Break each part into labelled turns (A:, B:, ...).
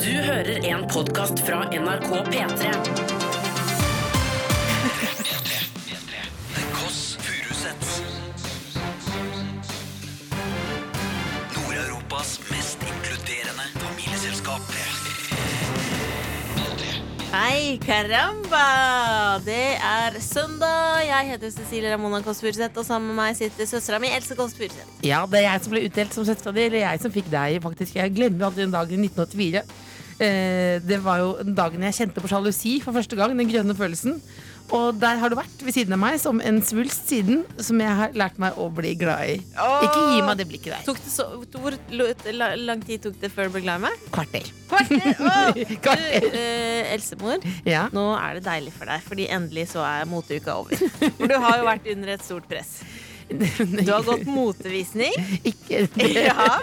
A: Du hører en podkast fra NRK P3.
B: The Koss Furusets Nord-Europas mest inkluderende familieselskap
C: Hei, caramba! Det er søndag. Jeg heter Cecilie Ramona Kåss Furuseth, og sammen med meg sitter søstera mi Else Kåss Furuseth.
D: Ja, det er jeg som ble utdelt som søstera di, eller jeg som fikk deg, faktisk. Jeg glemmer aldri den dagen i 1984. Eh, det var jo den dagen jeg kjente på sjalusi for første gang, den grønne følelsen. Og der har du vært ved siden av meg som en svulst siden, som jeg har lært meg å bli glad i. Ikke gi meg det blikket der.
C: Tok det så, hvor lo- la- lang tid tok det før du ble glad i meg?
D: Kvarter.
C: Åh! Du,
D: Kvarter.
C: eh, Elsemor,
D: Ja.
C: nå er det deilig for deg, fordi endelig så er moteuka over. For du har jo vært under et stort press. Du har gått motevisning.
D: Ikke,
C: Ja.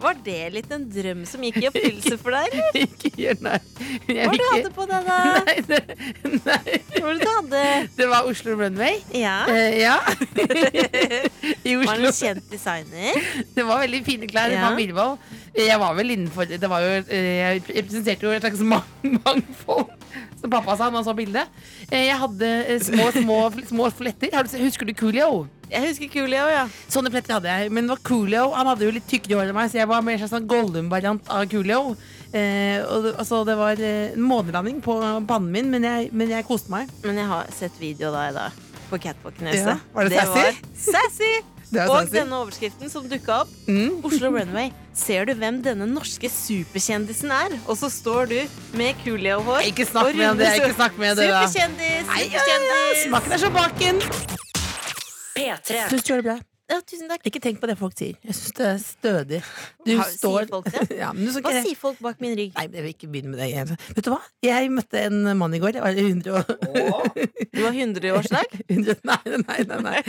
C: Var det litt en drøm som gikk i oppfyllelse for deg, eller?
D: ikke gjør nei. Jeg
C: Hva var det
D: vil
C: du
D: ikke-
C: hadde på deg, da?
D: Nei, det, nei.
C: Hva var det du hadde?
D: det var Oslo Runway.
C: Ja.
D: Eh, ja. I
C: Var det
D: Oslo.
C: en kjent designer?
D: Det var veldig fine klær.
C: Ja.
D: Familievold. Jeg var vel innenfor det var jo, eh, Jeg representerte jo et slags mang- mangfold, som pappa sa når han så bildet. Eh, Jeg hadde eh, små, små, små fletter. Har du se- Husker du Coolio?
C: Jeg husker Coolio, ja.
D: Sånne fletter hadde jeg. Men det var Coolio han hadde jo litt tykkere hår enn meg, så jeg var mer en slags sånn Gollum-variant av Coolio. Eh, og det, altså, det var eh, en månelanding på pannen min, men jeg, men jeg koste meg.
C: Men jeg har sett video av deg da på Catwalk-nese.
D: Ja, var det sassy?
C: var sassy!
D: Det er
C: Og
D: sassy.
C: denne overskriften som dukka opp.
D: Mm.
C: Oslo Runway. Ser du hvem denne norske superkjendisen er? Og så står du med Coolio-hår.
D: Ikke snakk
C: og
D: med
C: runde
D: det, ikke
C: sol-
D: snakk med det, da.
C: Superkjendis!
D: Nei, ja, ja,
C: Superkjendis!
D: smaken er så baken!
A: P3.
D: Syns du gjør det bra?
C: Ja, tusen takk.
D: Ikke tenk på det folk sier. Jeg syns det er stødig. Du
C: Har- sier
D: står
C: folk det?
D: ja, men du skal
C: Hva
D: ikke...
C: sier folk bak min rygg?
D: Nei, jeg vil ikke begynne med det. igjen. Vet du hva? Jeg møtte en mann i går. Jeg var 100 og...
C: Du har 100-årsdag.
D: 100... Nei, nei, nei, nei.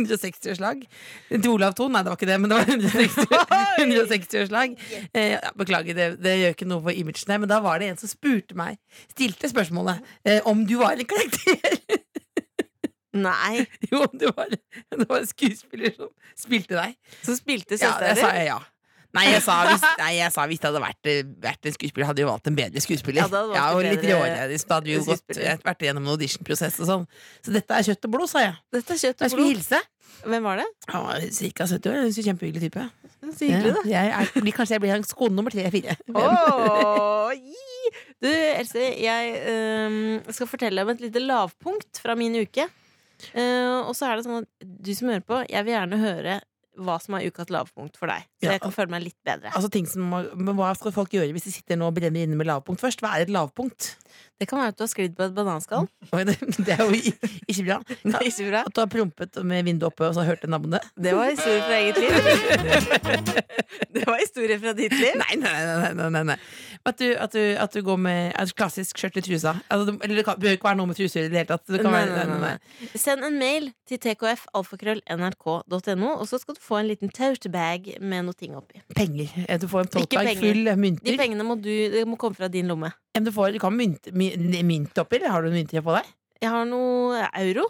D: 160-årslag. Til Olav Thon. Nei, det var ikke det, men det var 160 160-årslag. Eh, ja, beklager, det, det gjør ikke noe for imaget, men da var det en som spurte meg, stilte spørsmålet, eh, om du var en karakter.
C: Nei.
D: Jo, om du var, det var en skuespiller som spilte deg.
C: Så spilte
D: Ja,
C: søstera
D: jeg
C: di.
D: sa ja. Nei, jeg sa hvis, nei, jeg sa hvis det hadde vært, eh, vært en skuespiller, hadde jeg jo valgt en bedre skuespiller.
C: Ja, det hadde valgt
D: og
C: en
D: litt
C: bedre
D: råere. liksom. Da hadde vi jo gått,
C: skuespiller.
D: jeg hadde vært gjennom en auditionprosess og sånn. Så dette er kjøtt og blod, sa jeg.
C: Dette er kjøtt
D: Da
C: og
D: jeg skulle
C: blod.
D: hilse.
C: Hvem var det?
D: Han var ca. 70 år. en Kjempehyggelig type.
C: Så hyggelig, da.
D: Ja, jeg er, blir, kanskje jeg blir hans kone nummer tre-fire.
C: Åh, gi! du, Else, jeg øhm, skal fortelle om et lite lavpunkt fra min uke. Eh, og så er det sånn at du som hører på, jeg vil gjerne høre hva som er ukas lavpunkt for deg. Så
D: Ja.
C: jeg kan føle meg litt bedre.
D: Altså ting som, må- men Hva skal folk gjøre hvis de sitter nå og brenner inne med lavpunkt først? Hva er et lavpunkt?
C: Det kan være at du har sklidd på et bananskall.
D: Oi, Det det er jo i- ikke bra.
C: Det er ikke bra.
D: At du har prompet med vinduet oppe og så hørte naboene.
C: Det var historie fra eget liv. Det var historie fra ditt liv.
D: Nei, nei, nei, nei, nei, nei. At, du, at, du, at du går med et klassisk skjørt i trusa. Altså, det, eller det kan, behøver ikke være noe med truser i det hele tatt. Det kan
C: Nei,
D: være,
C: nei, nei, nei. Send en mail til tkfalfakrøll.nrk.no, og så skal du få en liten tote-bag med noe ting oppi.
D: Penger. Eh, Du får en
C: Ikke
D: totalbag
C: penger.
D: full av
C: De
D: mynter.
C: pengene må, du, det må komme fra din lomme.
D: Ja, men Du, får, du kan ha mynt, my- mynt oppi. eller Har du en myntre på deg?
C: Jeg har noe euro.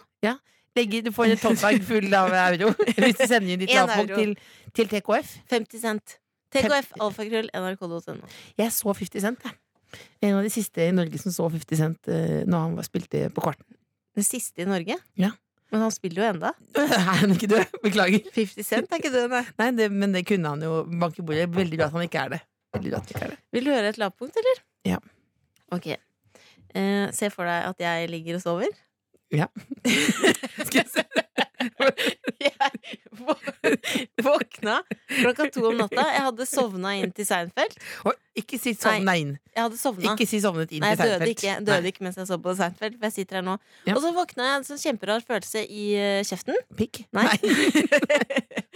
D: Legger, du får en totalbag full av euro hvis du sender inn ditt
C: En
D: lavpunkt
C: euro.
D: til, til TKF.
C: 50 cent. TKF, alfakrøll, nrk.no.
D: Jeg så 50 Cent, jeg. En av de siste i Norge som så 50 Cent eh, når han var- spilte på kvarten.
C: Den siste i Norge?
D: Ja.
C: Men han spiller jo enda.
D: Er han ikke død? Beklager.
C: 50 cent er ikke det, nei.
D: Nei, det, men det kunne han jo banke i bordet. Veldig bra at han ikke er det. Veldig bra at han ikke er det.
C: Vil du høre et lavpunkt, eller?
D: Ja.
C: Ok. Eh, se for deg at jeg ligger og sover.
D: Skal jeg se
C: Jeg vå- våkna klokka to om natta. Jeg hadde sovna inn til Seinfeld.
D: Oi, ikke si sovna inn.
C: Jeg hadde sovna.
D: Ikke si sovnet inn
C: Nei, jeg
D: til
C: døde
D: Seinfeld.
C: ikke, jeg døde ikke mens jeg så på Seinfeld. For jeg sitter her nå.
D: Ja.
C: Og så våkna jeg av en sånn kjemperar følelse i eh, kjeften.
D: Nei. Pikk?
C: Nei.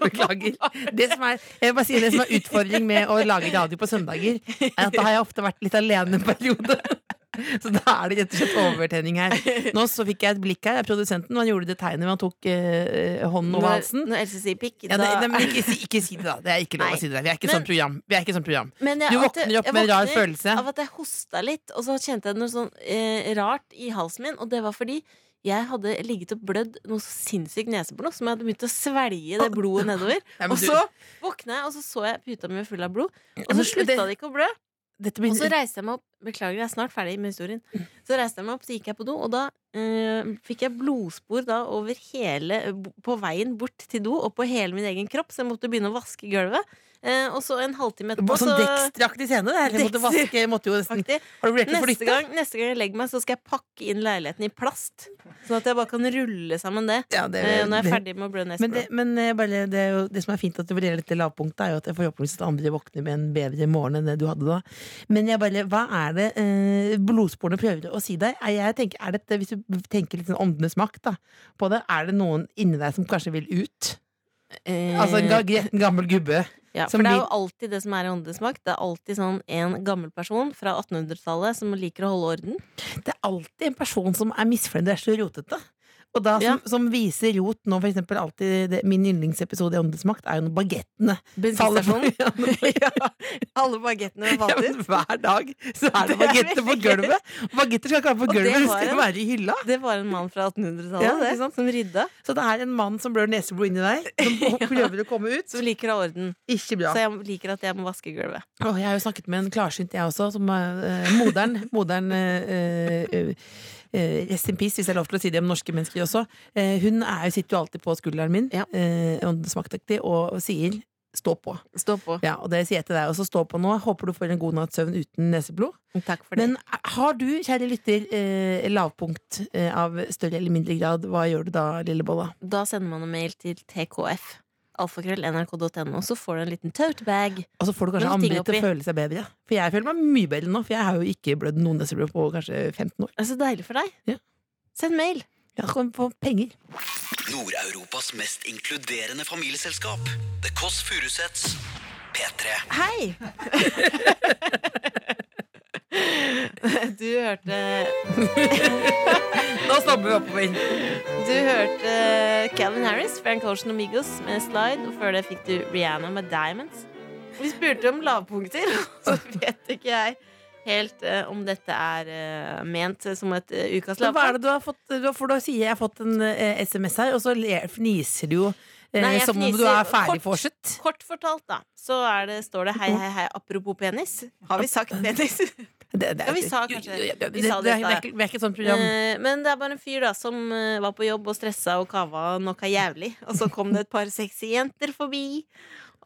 D: Beklager. Det som er, jeg vil bare si det som er utfordring med å lage radio på søndager, er at da har jeg ofte vært litt alene en periode. Så da er det rett og slett overtenning her. Nå så fikk jeg et blikk her av produsenten, og han gjorde det tegnet med han tok eh, hånden over
C: Når,
D: halsen.
C: når Else sier pikk,
D: Ja, det,
C: da
D: nei, men ikke, si, ikke si det, da. Det er ikke lov
C: Nei.
D: å si det. Vi er ikke
C: Men-
D: sånn program. Vi er ikke sånn program.
C: Men jeg-
D: Du
C: at-
D: våkner opp
C: jeg
D: med en rar
C: våkner
D: følelse.
C: Av at jeg hosta litt, og så kjente jeg noe sånn eh, rart i halsen min, og det var fordi Jeg hadde ligget og blødd noe så sinnssykt neseblod, som jeg hadde begynt å svelge det blodet nedover.
D: Nei, men
C: Og
D: du-
C: så våkna jeg, og så så jeg puta mi var full av blod. Og
D: men
C: så slutta
D: det-
C: det ikke å blø.
D: Dette
C: Og så
D: begynner
C: reiste jeg meg opp Beklager, jeg er snart ferdig med historien. Så reiste jeg meg opp, så gikk jeg på do, og da eh, fikk jeg blodspor da over hele På veien bort til do og på hele min egen kropp, så jeg måtte begynne å vaske gulvet. Eh, og så en halvtime etterpå,
D: Sånn
C: så
D: Dexter-aktig scene. Det er, jeg måtte
C: Dexter.
D: vaske, jeg måtte jo nesten
C: Faktisk,
D: Har du vurdert å
C: Neste
D: flytte?
C: gang, neste gang jeg legger meg, så skal jeg pakke inn leiligheten i plast. Sånn at jeg bare kan rulle sammen det,
D: Ja, det,
C: eh, når jeg
D: det-
C: er ferdig med å blø
D: Men, det,
C: neseblod.
D: men eh, bare, det, er jo, det som er fint at du vurderer dette lavpunktet, er jo at jeg forhåpentligvis at andre våkner med en bedre morgen enn det du hadde da. Men jeg bare, hva er det eh, blodsporene prøver å si deg? Er, jeg tenker, er dette, hvis du tenker litt sånn åndenes makt da, på det, er det noen inni deg som kanskje vil ut?
C: Eh,
D: Altså en ga- gretten gammel gubbe.
C: Ja,
D: Som
C: for det er
D: blir-
C: jo alltid det som er i Åndenes makt. Det er alltid sånn en gammel person fra 1800-tallet som liker å holde orden.
D: Det er alltid en person som er misfornøyd og er så rotete. Og da, som, som viser rot nå, for eksempel alltid det, Min yndlingsepisode i Åndenes makt er jo når bagettene faller på.
C: Bensinstasjonen.
D: Ja.
C: Alle bagettene
D: Ja,
C: falt ut.
D: men hver dag så er det
C: Det er
D: bagetter på
C: veldig gøy.
D: gulvet. Bagetter skal ikke være på
C: Og det
D: gulvet, det
C: var
D: skal
C: en-
D: være i hylla.
C: Det var en mann fra 1800-tallet
D: Ja,
C: det,
D: ikke sant?
C: som rydda,
D: Så det er en mann som blør neseblod inni deg, som prøver å komme ut.
C: som liker å ha orden.
D: Ikke bra.
C: Så jeg liker at jeg må vaske gulvet.
D: Åh, jeg har jo snakket med en klarsynt, jeg også, som uh, modern. modern eh, eh, eh, rest in peace, hvis jeg har lov til å si det om norske mennesker også. Eh, hun er, jo- sitter jo alltid på skulderen min,
C: Ja.
D: eh, åndesmaktaktig, og, og sier 'stå på'.
C: Stå på.
D: Ja, og det sier jeg til deg også. Stå på nå. Håper du får en god natts søvn uten neseblod.
C: Takk for det.
D: Men eh, har du, kjære lytter, eh, lavpunkt eh, av større eller mindre grad, hva gjør du da, lille bolla?
C: da sender man en mail til tkf. Alfakrøll.nrk.no, så får du en liten tote-bag.
D: Og så Altså, får du kanskje
C: Men ting
D: andre til å
C: oppi.
D: føle seg bedre. For jeg føler meg mye bedre nå, for jeg har jo ikke blødd noen neseblod på kanskje 15 år.
C: Det er så deilig for deg.
D: Ja.
C: Send mail.
D: Jeg kan få penger.
B: Nord-Europas mest inkluderende familieselskap. The Kåss Furuseths. P3.
C: Hei! du hørte
D: Da snabber vi oppover.
C: Du hørte Calvin Harris, Frank Ocean og Migos med Slide, og før det fikk du Rihanna med Diamonds. Vi spurte om lavpunkter, så vet ikke jeg helt eh, om dette er eh, ment som et eh, ukas
D: Men hva
C: lavpunkt.
D: er det du har fått? du har- For da sier jeg jeg har fått en eh, SMS her, og så le- fniser du jo eh,
C: Nei, jeg
D: som om du
C: fniser
D: er ferdigforset.
C: Kort fortalt, da, så er det, står det hei, hei, hei, apropos penis. Har vi sagt penis?
D: Det- det-
C: Ja, vi sa
D: jo,
C: kanskje-
D: jo, jo,
C: vi
D: det. det-
C: sa
D: det er-
C: dette,
D: Vi er
C: ja.
D: ikke- vi er ikke et sånt program.
C: Eh, Men det er bare en fyr da som eh, var på jobb og stressa og kava noe jævlig. Og så kom det et par sexy jenter forbi.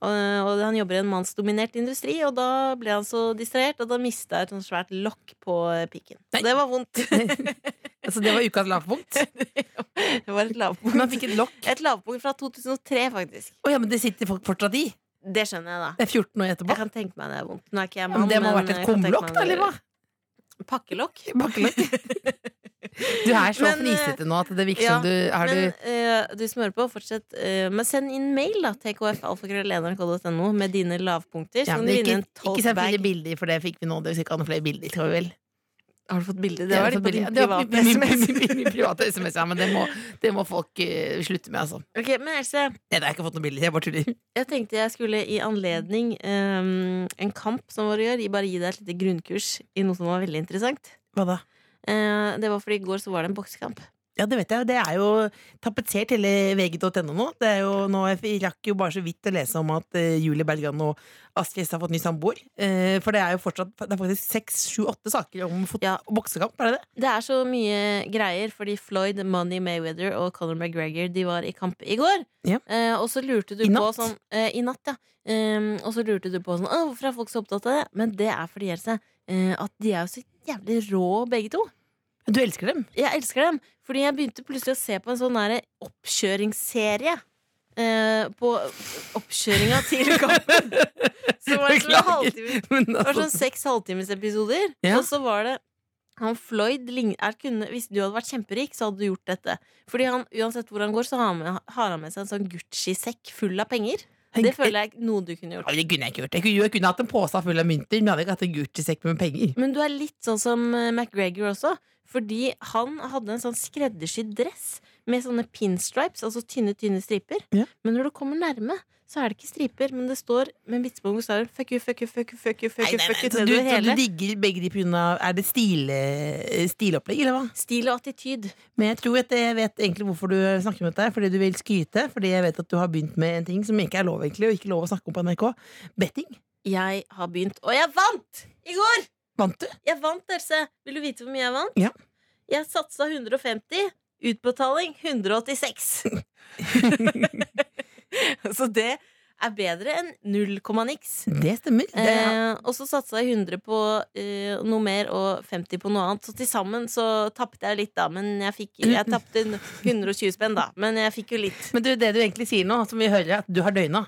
C: Eh, Og han jobber i en mannsdominert industri, og da ble han så distrahert, og da mista jeg et sånt svært lokk på eh, pikken.
D: Nei.
C: Så det var vondt.
D: Så Altså, det var ukas lavpunkt.
C: Det var et
D: Men han
C: lavpunkt.
D: fikk et lokk.
C: Et lavpunkt fra 2003, faktisk.
D: Å ja, men det sitter folk fortsatt i.
C: Det skjønner jeg, da.
D: Det er 14 år etterpå.
C: Jeg eh, kan tenke meg det er vondt. Nå er ikke jeg
D: Ja, men
C: mann,
D: det må ha vært
C: men
D: et
C: jeg kan tenke
D: kumlokk,
C: meg
D: da,
C: det-
D: eller hva?
C: Pakkelokk.
D: Bakkelokk. Du er så
C: Men, eh,
D: fnisete nå at det virker
C: ja,
D: som du Har
C: Men
D: du
C: eh, du smører på, fortsett. eh, men send inn mail, da. tkfalfakrøll.nrk.no med dine lavpunkter. Så
D: ja,
C: kan
D: men
C: du
D: ikke,
C: vinne en
D: ikke send flere
C: tollbag.
D: bilder, for det fikk vi nå. Det skal ikke ha noen flere bilder, tror vi vel.
C: Har du fått bilde?
D: Jeg
C: Det
D: har
C: var litt
D: fått
C: på
D: bilder.
C: din
D: Det var
C: private
D: altså, min- min-
C: SMS.
D: min- min- min private SMS. Ja, men det må, det må folk eh, slutte med, altså.
C: Ok, men Else,
D: Nei, jeg har ikke fått noen bilder. Jeg bare tuller.
C: jeg tenkte jeg skulle i anledning eh, en kamp som vår gjør, bare gi deg et lite grunnkurs i noe som var veldig interessant.
D: Hva da?
C: Eh, det var fordi i går så var det en boksekamp.
D: Ja, det vet jeg. Det er jo tapetsert hele vg.no nå. Det er jo nå. Jeg rakk jo bare så vidt å lese om at eh, Julie Bergan og Astrid S har fått ny samboer. Eh, for det er jo fortsatt Det er faktisk seks, sju, åtte saker om fot
C: Ja.
D: boksekamp, er det det?
C: Det er så mye greier, fordi Floyd, Money Mayweather og Conor McGregor De var i kamp i går.
D: Ja.
C: Eh, og så lurte du
D: I
C: på
D: natt?
C: sånn eh, I natt, ja. Em, og så lurte du på sånn «Åh, Hvorfor er folk så opptatt av det? Men det er fordi Else, eh, at de er jo så jævlig rå, begge to.
D: Du elsker dem?
C: Jeg elsker dem. Fordi jeg begynte plutselig å se på en sånn derre oppkjøringsserie. eh, på oppkjøringa til kampen. Så var det sånn en halvtime
D: Men
C: det var
D: altså,
C: sånn seks halvtimesepisoder.
D: Ja.
C: Og så var det han Floyd lign- er, kunne, Hvis du hadde vært kjemperik, så hadde du gjort dette. Fordi han, uansett hvor han går, så har han med, har han med seg en sånn Gucci-sekk full av penger. Det føler jeg er noe du kunne
D: Ja,
C: gjort.
D: det kunne jeg ikke gjort. Jeg kunne, jo, jeg kunne hatt en pose full av mynter, men jeg hadde ikke hatt en Gucci-sekk med penger.
C: Men du er litt sånn som eh, McGregor også. Fordi han hadde en sånn skreddersydd dress med sånne pinstripes, altså tynne, tynne striper.
D: Ja.
C: Men når du kommer nærme, så er det ikke striper, men det står med vitsbom bokstaver fuck you, fuck you, fuck you, fuck you, fuck you, fuck you
D: Så du,
C: nedover
D: så du
C: hele.
D: digger begge de pga. Er det stil, eh, stilopplegg, eller hva?
C: Stil og attityd.
D: Men jeg tror at jeg vet egentlig hvorfor du snakker med deg. Fordi du vil skryte. Fordi jeg vet at du har begynt med en ting som ikke er lov egentlig og ikke lov å snakke om på NRK. Betting.
C: Jeg har begynt, og jeg vant! I går!
D: Vant du?
C: Jeg vant, Else. Vil du vite hvor mye jeg vant?
D: Ja.
C: Jeg satsa 150. Utbetaling 186. så det er bedre enn null komma niks.
D: Det stemmer. Det er,
C: Eh, og så satsa jeg 100 på eh, noe mer og 50 på noe annet. Så til sammen så tapte jeg litt, da. Men jeg fikk Jeg tapte n- 120 spenn, da. Men jeg fikk jo litt.
D: Men du, det du egentlig sier nå, som vi hører, er at du har døgna.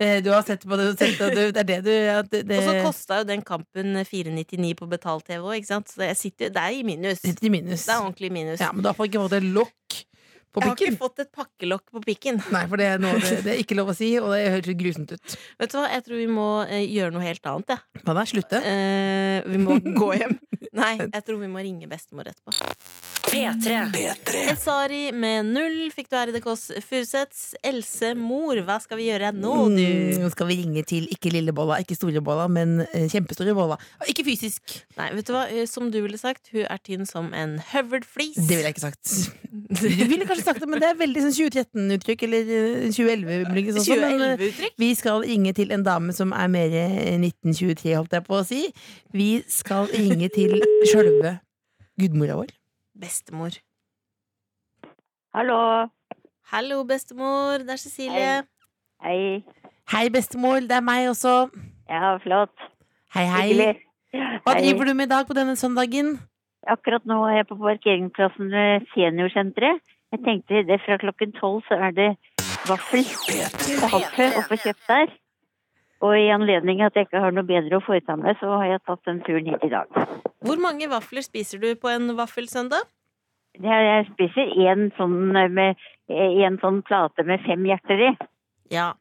D: Eh, Du har sett på det, sett at du, det er det du at det,
C: Og så kosta jo den kampen 499 på betalt-TV òg, ikke sant. Så jeg sitter, det er i minus. Det
D: Sitter i minus.
C: er ordentlig minus.
D: Ja, men du har fått ikke fått et lokk på
C: Jeg har
D: pikken.
C: ikke fått et pakkelokk på pikken.
D: Nei, for det er, noe, det, det er ikke lov å si, og det høres grusomt ut.
C: Vet du hva, jeg tror vi må eh, gjøre noe helt annet, jeg.
D: Hva da? Slutte?
C: Eh, vi må gå hjem. Nei, jeg tror vi må ringe bestemor etterpå.
A: P3.
B: P3.
C: Esari med null fikk du her i The Kåss Furuseths. Else Mor, hva skal vi gjøre nå, du?
D: Mm, Nå skal vi ringe til ikke lille bolla, ikke store bolla, men eh, kjempestore bolla. Og Ikke fysisk.
C: Nei, vet du hva, eh, som du ville sagt, hun er tynn som en høvelflis.
D: Det ville jeg ikke sagt. Du ville kanskje sagt det, men det er veldig sånn 2013-uttrykk, eller eh, 2011-uttrykk. Sånn, sånn, men, eh,
C: 2011-uttrykk?
D: Vi skal ringe til en dame som er mer eh, 1923, holdt jeg på å si. Vi skal ringe til sjølve gudmora vår.
C: Bestemor.
E: Hallo.
C: Hallo, bestemor. Det er Cecilie.
E: Hei. Hei.
D: Hei, bestemor. Det er meg også.
E: Ja, flott.
D: Hei, hei.
E: Hyggelig.
D: Hva
E: Hei.
D: driver du med i dag på denne søndagen?
E: Akkurat nå er jeg på parkeringsplassen ved seniorsenteret. Jeg tenkte det fra klokken tolv så er det vaffel og kaffe oppe og kjøpt der. Og i anledning at jeg ikke har noe bedre å foreta meg, så har jeg tatt den turen hit i dag.
C: Hvor mange vafler spiser du på en vaffelsøndag?
E: Det er- Jeg spiser én sånn, med- en sånn plate med fem hjerter i.
C: Ja.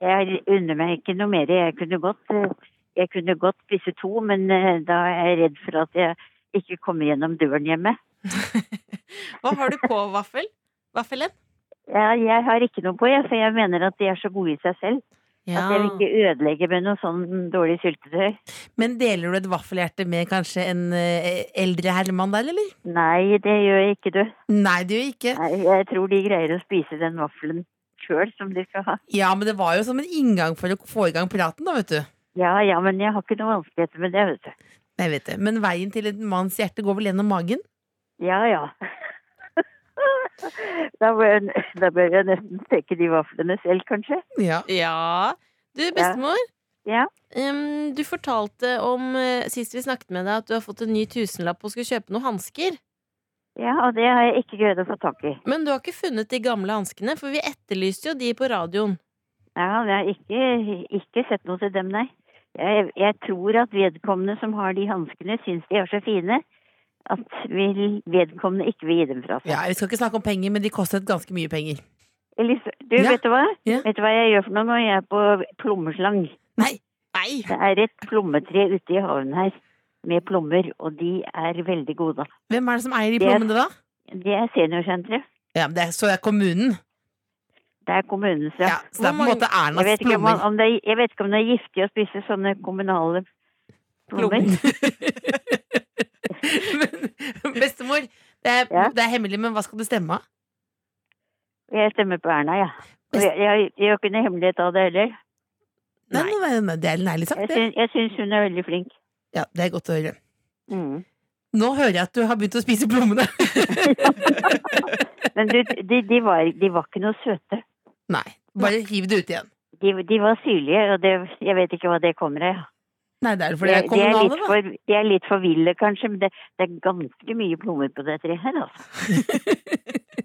E: Jeg unner meg ikke noe mer. Jeg kunne godt, eh, jeg kunne godt spise to, men eh, da er jeg redd for at jeg ikke kommer gjennom døren hjemme.
C: Hva har du på vaffel? Vaffelen?
E: Ja, jeg har ikke noe på, jeg, for jeg mener at de er så gode i seg selv. At jeg vil ikke ødelegge med noe sånn dårlig syltetøy.
D: Men deler du et vaffelhjerte med kanskje en eh, eldre herremann der, eller?
E: Nei, det gjør jeg ikke, du.
D: Nei, det gjør jeg ikke.
E: Nei, jeg tror de greier å spise den vaffelen sjøl som de skal ha.
D: Ja, men det var jo som en inngang for å få i gang praten, da, vet du.
E: Ja ja, men jeg har ikke noe vanskeligheter med det, vet du.
D: Jeg vet det. Men veien til en manns hjerte går vel gjennom magen?
E: Ja ja. Da bør, jeg, da bør jeg nesten steke de vaflene selv, kanskje.
D: Ja.
C: Ja. Du, bestemor.
E: Ja.
C: Em, du fortalte om eh, sist vi snakket med deg, at du har fått en ny tusenlapp og skulle kjøpe noen hansker.
E: Ja, og det har jeg ikke greid å få tak i.
C: Men du har ikke funnet de gamle hanskene, for vi etterlyste jo de på radioen.
E: Ja, jeg har ikke, ikke sett noe til dem, nei. Jeg, jeg tror at vedkommende som har de hanskene, syns de er så fine at vil, vedkommende ikke vil gi dem fra seg.
D: ja, Vi skal ikke snakke om penger, men de kostet ganske mye penger.
E: Elise, du,
D: Ja.
E: vet du hva?
D: Ja.
E: Vet du hva jeg gjør for noe når jeg er på plommeslang?
D: Nei!
C: Nei!
E: Det er et plommetre ute i haven her med plommer, og de er veldig gode.
D: Hvem er det som eier de
E: Det-
D: plommene, da?
E: Det er seniorsenteret.
D: Ja, men det er, Så det er kommunen?
E: Det er kommunens,
D: Ja,
E: ja.
D: Så det
C: Hvor
D: er på en
C: mange-
D: måte
E: Jeg
D: Ernas
E: vet, ikke om, man-
D: plommer?
E: om det, er- jeg vet ikke om det er giftig å spise sånne kommunale plommer.
D: Men, bestemor, det er,
E: Ja.
D: det er hemmelig, men hva skal du stemme av?
E: Jeg stemmer på Erna, ja. Og jeg, jeg, jeg gjør ikke noe hemmelighet av det heller.
D: Nei, nei, nei, nei, det er en ærlig sak,
E: Jeg
D: det.
E: syns, jeg syns hun er veldig flink.
D: Ja, det er godt å høre. Mm. Nå hører jeg at du har begynt å spise plommene.
E: Men du, de, de, var, de var ikke noe søte.
D: Nei, bare hiv det ut igjen.
E: De, de var syrlige, og det, jeg vet ikke hva det kommer av. ja.
D: Nei, det er fordi
E: De,
D: det er
E: de, er litt
D: kommunale, da.
E: for- de er litt for ville, kanskje, men det, det er ganske mye plommer på det treet her, altså.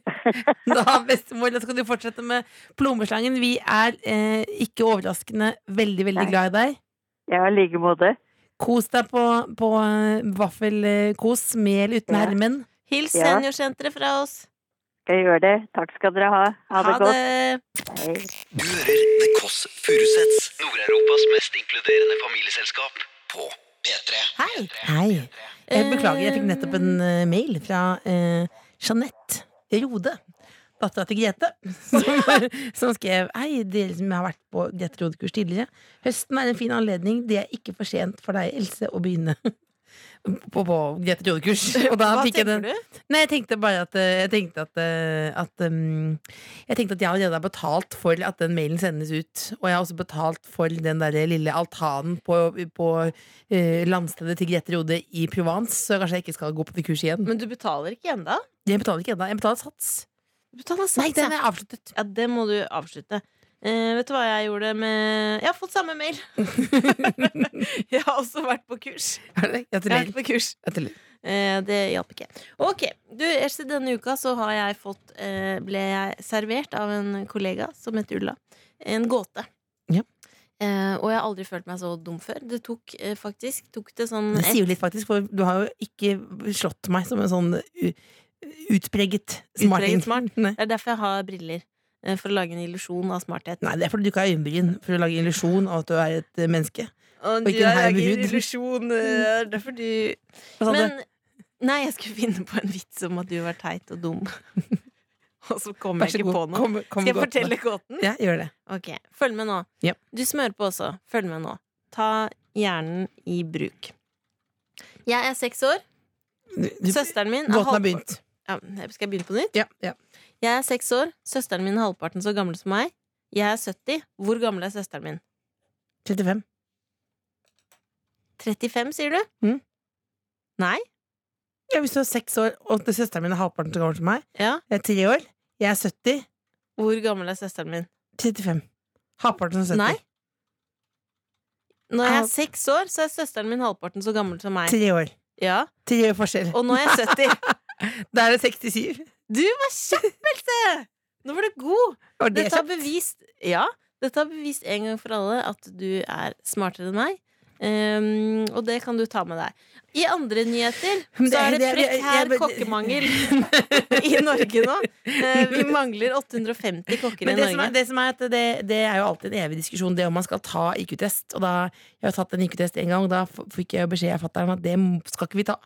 D: Da, bestemor, da skal du fortsette med plommeslangen. Vi er eh, ikke overraskende veldig, veldig
E: Nei.
D: glad i deg.
E: Ja, i like måte.
D: Kos deg på, på eh, vaffelkos med eller uten
E: Ja.
D: hermen.
C: Hils
E: Ja.
C: seniorsenteret fra oss.
E: Skal jeg gjøre det. Takk skal dere ha. Ha det godt. Hei.
B: Du hører The Kåss Furuseths, Nord-Europas mest inkluderende familieselskap, på P3.
C: Hei!
D: Hei. Jeg beklager, jeg fikk
C: Eh,
D: nettopp en eh, mail fra eh, Jeanette Rode. dattera til Grete, som, som skrev Hei, dere som har vært på Grete Rode-kurs tidligere. Høsten er en fin anledning. Det er ikke for sent for deg, Else, å begynne på, på Grete Rode-kurs. Og da
C: Hva
D: fikk jeg den
C: tenker du?
D: Nei, jeg tenkte bare at eh, Jeg tenkte at, eh, at um, Jeg tenkte at jeg allerede har betalt for at den mailen sendes ut. Og jeg har også betalt for den der lille altanen på, på eh, landstedet til Grete Rode i Provence, så kanskje jeg ikke skal gå på det kurset igjen.
C: Men du betaler ikke ennå?
D: Jeg betaler ikke ennå. Jeg betaler sats.
C: Du betaler
D: Nei,
C: sats,
D: den
C: ja.
D: er avsluttet.
C: ja. Det må du avslutte. Eh, vet du hva jeg gjorde med Jeg har fått samme mail! jeg har også vært på kurs.
D: Er det?
C: Jeg har vært
D: Gratulerer.
C: på kurs.
D: Gratulerer.
C: Eh, det hjalp ikke. Ok, du, Else, denne uka så har jeg fått eh, ble jeg servert av en kollega som heter Ulla. En gåte.
D: Ja.
C: Eh, og jeg har aldri følt meg så dum før. Det tok eh, faktisk tok det sånn
D: Det sier
C: ett-
D: jo litt, faktisk, for du har jo ikke slått meg som en sånn u- utpreget smarting.
C: Utpreget smart?
D: Nei.
C: Det er derfor jeg har briller. eh, For å lage en illusjon av smarthet.
D: Nei, det er fordi du ikke har øyenbryn for å lage illusjon av at du er et eh, menneske.
C: Og
D: du ikke en lager haug hud.
C: illusjon. eh, Derfor du
D: Hva sa du?
C: Men Nei, jeg skulle finne på en vits om at du var teit og dum. og så kom
D: Vær
C: jeg
D: så
C: ikke
D: god.
C: på noe.
D: Kom, kom
C: Skal jeg
D: godt med
C: fortelle gåten?
D: Ja, gjør det.
C: Ok, følg med nå.
D: Ja.
C: Du smører på også. Følg med nå. Ta hjernen i bruk. Jeg er seks år.
D: Du, du,
C: Søsteren min er
D: båten har
C: halv...
D: begynt.
C: ja, Skal jeg begynne på nytt?
D: Ja, ja.
C: Jeg er seks år. Søsteren min er halvparten så gammel som meg. Jeg er 70. Hvor gammel er søsteren min?
D: 35.
C: 35, sier du?
D: Mhm.
C: Nei?
D: Ja, hvis du er seks år, og det- søsteren min er halvparten så gammel som meg,
C: Ja.
D: jeg er tre år, jeg er 70,
C: Hvor gammel er søsteren min?
D: 35. Halvparten som 70.
C: Nei. Når jeg
D: Au.
C: er seks år, så er søsteren min halvparten så gammel som meg.
D: Tre år.
C: Ja,
D: Tre år forskjell.
C: Og nå er jeg 70.
D: Da er det 67.
C: Du var kjapp, Else! Nå var du god!
D: Og det er
C: Dette har
D: kjapt.
C: bevist Ja, dette har bevist en gang for alle at du er smartere enn meg. Ehm, og det kan du ta med deg. I andre nyheter
D: Men
C: så er det
D: jeg- jeg-
C: prekær
D: jeg-
C: kokkemangel i Norge nå. Eh, vi mangler 850 kokker i
D: Men det som, er,
C: Norge.
D: det som er at det, det er jo alltid en evig diskusjon, det om man skal ta IQ-test. Og da, Jeg har tatt en IQ-test en gang, og da f- fikk jeg jo beskjed av fatter'n at det m- skal ikke vi ta.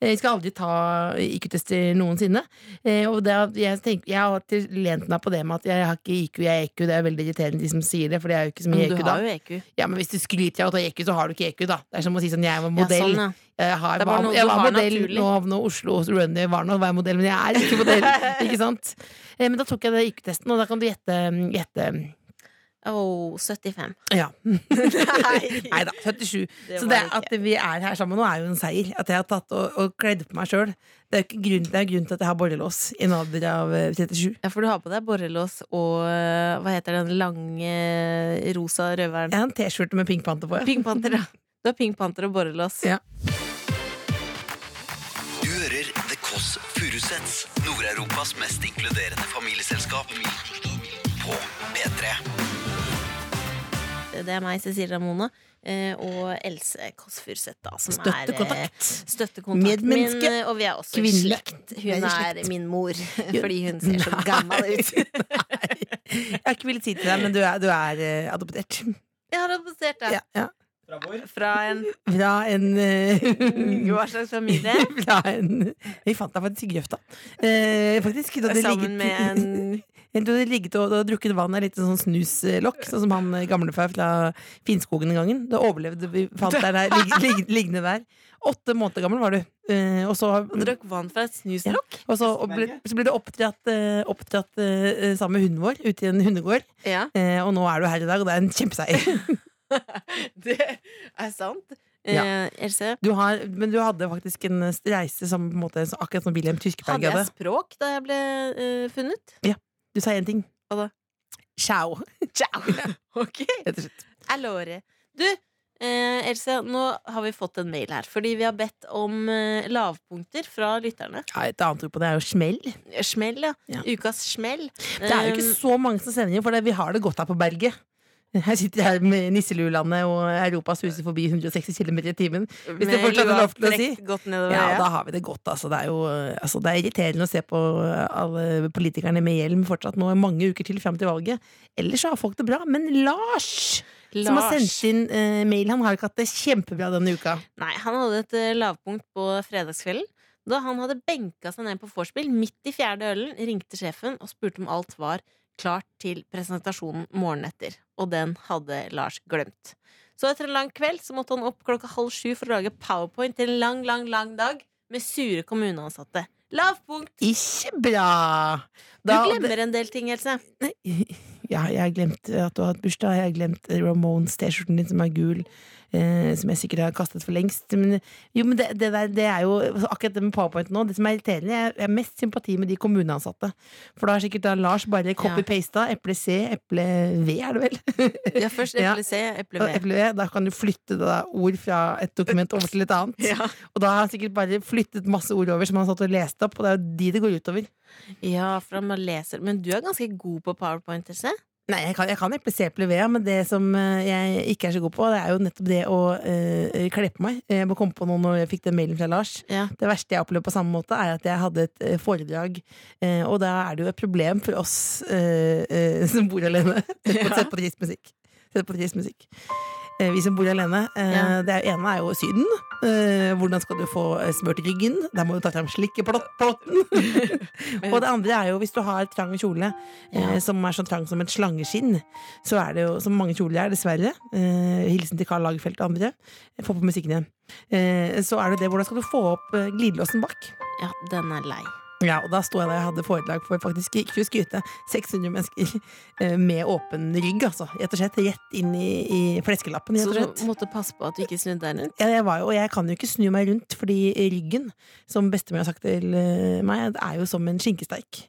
D: Eh, Vi skal aldri ta eh, IQ-tester noensinne. Eh, Og det, er- jeg, tenker, jeg har alltid lent meg på det med at jeg har ikke IQ, jeg er EQ. Det er veldig irriterende de som sier det, for det er jo ikke så mye
C: Men du
D: EQ da.
C: har jo E EQ.
D: Ja, men hvis du skryter av å ta EQ, så har du ikke EQ, da. Det er som å si sånn, jeg var
C: Ja,
D: modell.
C: sånn, ja.
D: Jeg, har,
C: Det er bare
D: var,
C: noe
D: jeg
C: du
D: var
C: har
D: modell
C: naturlig.
D: nå havna Oslo hos Runner var nå var jeg modell, men jeg er ikke modell. ikke sant? Eh, Men da tok jeg det IQ-testen, og da kan du gjette, gjette
C: Åh, 75.
D: Ja. Nei da, 77.
C: Det
D: så
C: var
D: det
C: ikke.
D: at vi er her sammen nå, er jo en seier. At jeg har tatt og, og kledd på meg sjøl. Det er jo ikke grunn, det er grunn til at jeg har borrelås i en alder av eh, 37.
C: Ja, for du har på deg borrelås og eh, hva heter den lange rosa røveren?
D: Jeg har en T-skjorte med Pink Panther på. ja.
C: Pink Panther, ja. Du har Pink Panther og borrelås.
D: Ja.
B: Du hører The Kåss Furuseths, Nord-Europas mest inkluderende familieselskap. På P3.
C: Eh, Det er meg, Cecilia Mona, eh, og Else Kåss Furuseth, da, som er eh,
D: Støttekontakt.
C: Støttekontakt min,
D: Medmenneske.
C: eh, og vi er også i
D: Kvinne.
C: slekt.
D: Vi er
C: Hun
D: i
C: er
D: slekt.
C: min mor, fordi hun ser så
D: Nei.
C: gammel ut.
D: Nei. Jeg har ikke villet si til deg, men du er, du er eh, adoptert.
C: Jeg har adoptert deg
D: Ja, ja.
C: fra en
D: Fra en
C: Mm.
D: eh,
C: Hva slags familie?
D: Fra en Vi fant deg faktisk i grøfta. Eh, faktisk. Du hadde
C: Sammen
D: ligget-
C: med en
D: Du hadde ligget og, og drukket vann av litt sånn snuslokk, sånn som han eh, gamlefar fra Finnskogen den gangen. Du overlevde, vi fant deg der, lig, lig, liggende der. Åtte måneder gammel var du. Eh, og så, og
C: drakk vann fra et snuslokk.
D: så, og ble, så ble du oppdratt, eh, oppdratt eh, sammen med hunden vår ute i en hundegård.
C: Ja,
D: Eh, og nå er du her i dag, og det er en kjempeseier.
C: det er sant. Eh, Else,
D: Du har, men du hadde faktisk en eh, reise som på en måte, så akkurat som Wilhelm Tyrkeberg
C: hadde
D: hadde.
C: jeg språk da jeg ble eh, funnet?
D: Du sa én ting.
C: Hva da?
D: Ciao,
C: Ciao! Ok.
D: rett og slett.
C: Allore. Du, eh, Else, nå har vi fått en mail her. Fordi vi har bedt om eh, lavpunkter fra lytterne.
D: Ja, et annet ord på det er jo smell.
C: Smell, ja.
D: Ja.
C: Ukas smell.
D: Det er jo ikke
C: Um,
D: så mange som sender inn, for det, vi har det godt her på berget. Her sitter jeg med nisseluelandet, og Europa suser forbi 160 km i timen. Hvis det
C: med
D: fortsatt er
C: lua
D: lov til å si.
C: trukket Godt nedover,
D: Ja,
C: øya.
D: da har vi det godt, altså. Det er jo eh, altså, det er irriterende å se på eh, alle politikerne med hjelm fortsatt nå i mange uker til frem til valget. Ellers så har folk det bra. Men Lars, som har
C: Lars.
D: sendt inn eh, mail, han har ikke hatt det kjempebra denne uka.
C: Nei, han hadde et eh, lavpunkt på fredagskvelden. Da han hadde benka seg ned på vorspiel midt i fjerde ølen, ringte sjefen og spurte om alt var klart til presentasjonen morgenen etter. Og den hadde Lars glemt. Så etter en lang kveld så måtte han opp klokka halv sju for å lage powerpoint til en lang, lang, lang dag med sure kommuneansatte. Lavpunkt!
D: Ikke bra!
C: Du glemmer en del ting, Else.
D: Ja, jeg har glemt at du har hatt bursdag. Jeg har glemt Ramones-T-skjorten din som er gul. Eh, som jeg sikkert har kastet for lengst. Men, jo, men det, det, der, det er jo akkurat det med powerpoint nå. Det som er irriterende, jeg jeg har mest sympati med de kommuneansatte. For da har sikkert da Lars bare copy-pasta. Eple C, eple V, er det vel?
C: Ja, først
D: Ja.
C: eple C, eple
D: Og
C: B.
D: eple V, da kan du flytte da, ord fra et dokument over til et annet.
C: Ja.
D: Og da har han sikkert bare flyttet masse ord over som han har satt og lest opp, og det er jo de det går utover.
C: ja, for han bare leser. Men du er ganske god på powerpoint, Else.
D: Nei, jeg kan, jeg kan eple C eple V, men det som eh, jeg ikke er så god på, det er jo nettopp det å eh, kle på meg. Jeg må komme på noe når jeg fikk den mailen fra Lars.
C: Ja.
D: Det verste jeg opplevde på samme måte, er at jeg hadde et eh, foredrag, eh, og da er det jo et problem for oss eh, eh, som bor alene. Sett på, sett på trist musikk. Sett på trist musikk. Eh, Vi som bor alene. eh,
C: Ja.
D: Det er- ene er jo Syden. Eh, Hvordan skal du få eh, smørt ryggen? Der må du ta fram slikkeplotten. og det andre er jo hvis du har trang kjole eh, som er så trang som et slangeskinn, så er det jo som mange kjoler er, dessverre. Eh, Hilsen til Karl Lagerfeldt og andre. Få på musikken igjen. Eh, Så er det det, hvordan skal du få opp eh, glidelåsen bak?
C: Ja, den er lei.
D: Ja, og da sto jeg der jeg hadde foredrag for faktisk ikke å skryte 600 mennesker eh, med åpen rygg, altså. Rett og slett rett inn i, i fleskelappen, rett
C: Så
D: og slett.
C: du måtte passe på at du ikke snudde deg rundt.
D: Ja, jeg var jo, og jeg kan jo ikke snu meg rundt, fordi ryggen, som bestemor har sagt til eh, meg, det er jo som en skinkesteik.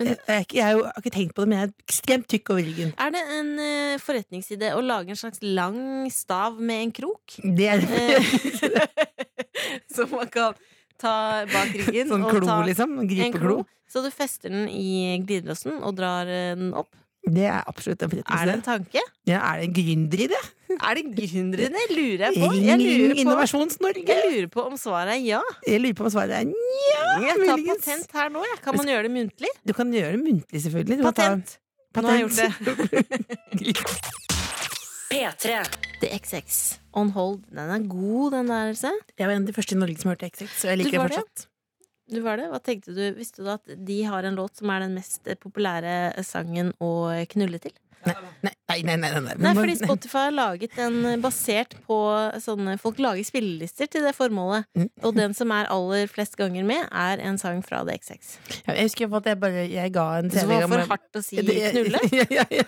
D: Jeg, jeg, er ikke- jeg er jo- jeg har ikke tenkt på det, men jeg er ekstremt tykk over ryggen.
C: Er det en eh, forretningside å lage en slags lang stav med en krok?
D: Det er
C: Eh, Som man kan ta bak ryggen.
D: sånn
C: og
D: klo,
C: ta
D: liksom.
C: en
D: en
C: klo.
D: Gripeklo.
C: Så du fester den i glidelåsen og drar eh, den opp.
D: Det er absolutt en
C: Er det en
D: forretningsidé.
C: tanke?
D: Ja, er det en gründer i det?
C: Er det gründeren? Det lurer jeg på. Jeg
D: Ring
C: lurer på,
D: Innovasjons-Norge!
C: jeg lurer på om svaret er ja.
D: Jeg lurer på om svaret er nja,
C: Jeg tar
D: muligens.
C: patent her nå. jeg. Kan man gjøre det muntlig?
D: Du kan gjøre det muntlig, selvfølgelig. Du kan ta-
C: Patent! Nå har jeg gjort det.
A: P3.
C: The XX. On hold. Den er god, den der, Else.
D: Jeg var en av de første i Norge som hørte XX, så jeg
C: Du
D: liker det
C: var det?
D: fortsatt.
C: Du var det? Hva tenkte du? Visste du at de har en låt som er den mest populære sangen å knulle til?
D: Nei, nei, nei. nei, nei.
C: Nei,
D: Men-
C: fordi Spotify har laget en basert på sånne Folk lager spillelister til det formålet.
D: Mm.
C: Og den som er aller flest ganger med, er en sang fra The XX.
D: Ja, Jeg husker at jeg bare jeg ga en
C: Så det var
D: telegram
C: for hardt å si
D: Det-
C: knulle
D: Ja, ja, ja,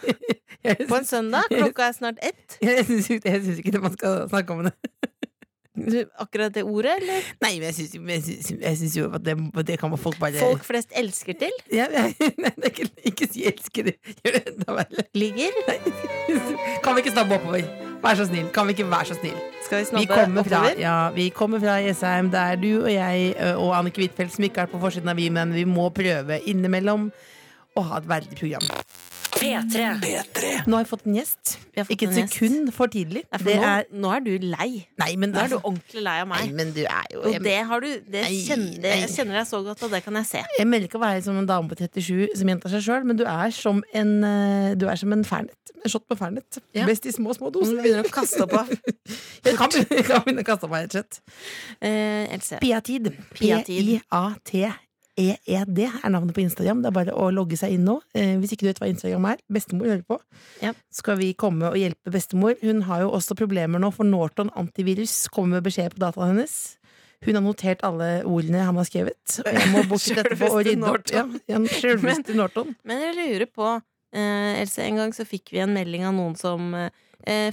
D: ja.
C: på en søndag. Klokka er snart ett.
D: Jeg syns ikke, jeg synes ikke det man skal snakke om det.
C: Du- Akkurat det ordet, eller?
D: Nei, men jeg syns, men jeg synes- jeg synes jo at det, det kan man folk bare
C: Folk flest elsker til.
D: Ja, ja, nei, det er ikke, ikke si 'elsker det'. Gjør det enda verre.
C: Ligger.
D: Kan vi ikke snabbe oppover? Vær så snill. Kan vi ikke være så snill?
C: Skal vi
D: Vi
C: snabbe
D: kommer fra,
C: oppover?
D: ja, vi kommer fra Jessheim, der du og jeg ø, og Annike Huitfeldt, som ikke har vært på forsiden av Vi, men vi må prøve innimellom å ha et verdig program.
A: P3.
D: Nå har jeg fått en gjest.
C: Vi har fått
D: ikke
C: en
D: et
C: gjest.
D: sekund for tidlig.
C: Nei, for
D: Det
C: nå,
D: er
C: nå er du lei.
D: Nei, men altså-
C: Nå er du ordentlig lei av
D: Nei,
C: meg.
D: men du er jo
C: Og
D: jeg,
C: det har du det
D: Nei,
C: kjenner,
D: nei.
C: Jeg kjenner deg så godt, og det kan jeg se.
D: jeg melder ikke å være som en dame på 37 som gjentar seg sjøl, men du er som en ø, Du er som en fernet. En shot med fernet.
C: Ja.
D: Best i små, små doser.
C: Nå begynner du å kaste opp av.
D: Jeg kan, begynne- jeg kan begynne å kaste opp meg, rett og slett.
C: Eh, Else.
D: Piatid.
C: Piatid.
D: P-i-a-t-e-e-d E er navnet på Instagram. Det er bare å logge seg inn nå. Eh, hvis ikke du vet hva Instagram er, bestemor hører på.
C: Ja.
D: Skal vi komme og hjelpe bestemor? Hun har jo også problemer nå, for Norton antivirus kommer med beskjed på dataen hennes. Hun har notert alle ordene han har skrevet. Og jeg må bort til etterpå og
C: Selveste
D: rydde opp. Ja, ja, Sjølveste Norton.
C: Men jeg lurer på eh, Else, en gang så fikk vi en melding av noen som eh,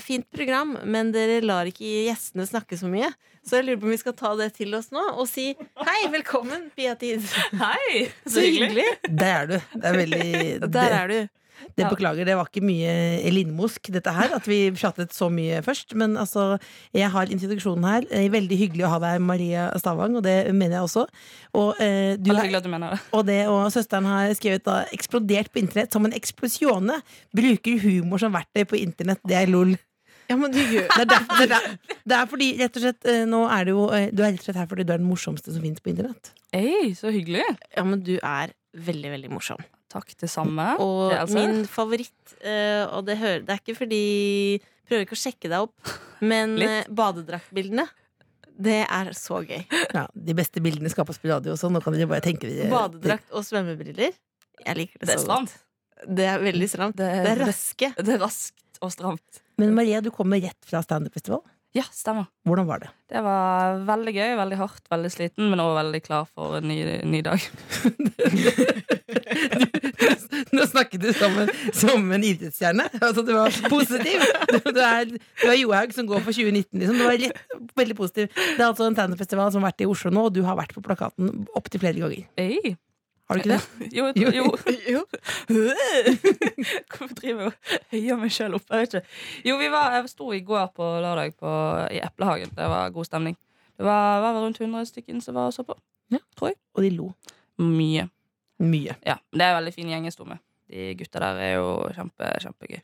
C: Fint program, men dere lar ikke gjestene snakke så mye. Så jeg lurer på om vi skal ta det til oss nå og si hei, velkommen, Pia Tid.
F: Hei!
C: Så hyggelig.
D: Der er du. Det er veldig
C: Der er du.
D: Det
C: Ja.
D: beklager, det var ikke mye lindmosk dette her, at vi pratet så mye først. Men altså, jeg har introduksjonen her. Eh, Veldig hyggelig å ha deg, Maria Stavang, og det mener jeg også. Og, eh, du,
F: Veldig
D: har-
F: hyggelig at du mener det.
D: og, det, og søsteren har skrevet da 'eksplodert på internett som en eksplosjone'. Bruker humor som verktøy på internett, det er lol.
C: Ja, men du gjør
D: Det er, derfor, det, er, der- det er fordi, rett og slett, eh, nå er det jo eh, Du er rett og slett her fordi du er den morsomste som finnes på internett.
F: Ei, så hyggelig.
C: Ja, men du er veldig, veldig morsom.
F: Takk, det samme.
C: Og
F: Det er altså-
C: min favoritt, eh, og det, hører, det er ikke fordi Prøver ikke å sjekke deg opp, men
F: Litt.
C: eh, badedraktbildene. Det er så gøy.
D: Ja, de beste bildene skapes på radio, så nå kan dere bare tenke dere-
C: Badedrakt og svømmebriller. Jeg liker
F: Det
C: det
F: er
C: så godt.
F: stramt.
C: Det er veldig stramt.
F: Det
C: Det er raske.
F: Det er raskt og stramt.
D: Men Maria, du kommer rett fra standup-festival.
F: Ja, stemmer.
D: Hvordan var det?
F: Det var veldig gøy, veldig hardt, veldig sliten, men også veldig klar for en ny, ny dag.
D: Nå snakket du som en, som en idrettsstjerne. Altså, du var positiv. Du, du, er, du er Johaug som går for 2019, liksom. Du var rett, veldig positiv. Det er altså en standup-festival som har vært i Oslo nå, og du har vært på plakaten opptil flere ganger.
F: Ei.
D: Har du ikke det?
F: Jo,
D: Jo.
F: jo. jo. Hvorfor driver jeg og høyer meg sjøl opp? Jeg vet ikke. Jo, vi var, jeg sto i går på lørdag på, i Eplehagen. Det var god stemning. Det var, var vel rundt 100 stykker som var og så på.
D: Og de lo
F: Mye.
D: mye.
F: Ja, men Det er en veldig fin gjeng jeg sto med. De gutta der er jo kjempe, kjempegøy.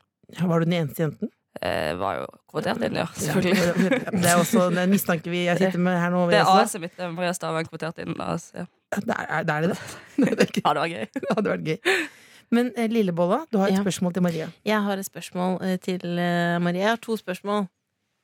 D: Var du den eneste jenten?
F: Jeg var jo kvotert inn, ja. Selvfølgelig.
D: Det er også det er en mistanke vi jeg sitter med her nå.
F: Det er
D: også.
F: AS-et mitt. det er Maria Stavang kvotert inn. Altså. Ja.
D: Det er, det er det. det. er ikke-
F: ja, det var gøy.
D: Det hadde vært gøy. Men eh, Lillebolla, du har et
C: Ja.
D: spørsmål til Maria.
C: Jeg har et spørsmål eh, til eh, Marie. Jeg har to spørsmål.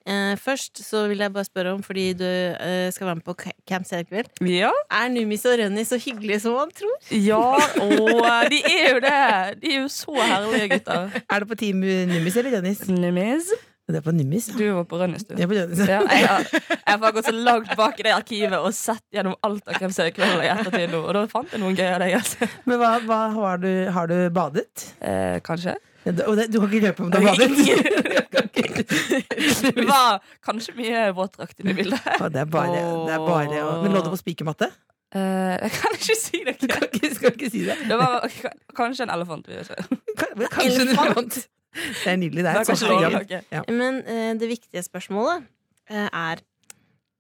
C: Eh, Først så vil jeg bare spørre om, fordi du eh, skal være med på ca- Camp Seer i kveld
F: Ja,
C: Er Numis og Rønni så hyggelige som man tror?
F: ja og eh, de er jo det! De er jo så herlige gutter.
D: Er du på team Nummis eller Dennis?
F: Nimis.
D: Det er på Nummis. ja.
F: Du var på Rønnis, du.
D: Jeg er på Dennis.
F: Ja, jeg, har, jeg har bare gått så langt bak i det arkivet og sett gjennom alt av Hvem ser kvelden i ettertid nå, og da fant jeg noen gøye av deg. Altså.
D: Men hva, hva har, du, har du badet?
F: Eh, kanskje.
D: Ja, Du og det- du kan ikke røpe om du har badet.
F: Det var kanskje mye våtdrakt inne i bildet.
D: Å, Det er bare, det er bare å- Men lå du på spikermatte?
F: Eh, jeg kan ikke si det.
D: Du kan ikke, skal ikke si det.
F: Det var k- kanskje en elefant. Vi vet ikke.
D: Kan- men Kanskje en elefant. Det er nydelig. Det er et
F: Det er kanskje
D: sånt program.
F: rådløke.
C: Men eh, det viktige spørsmålet eh, er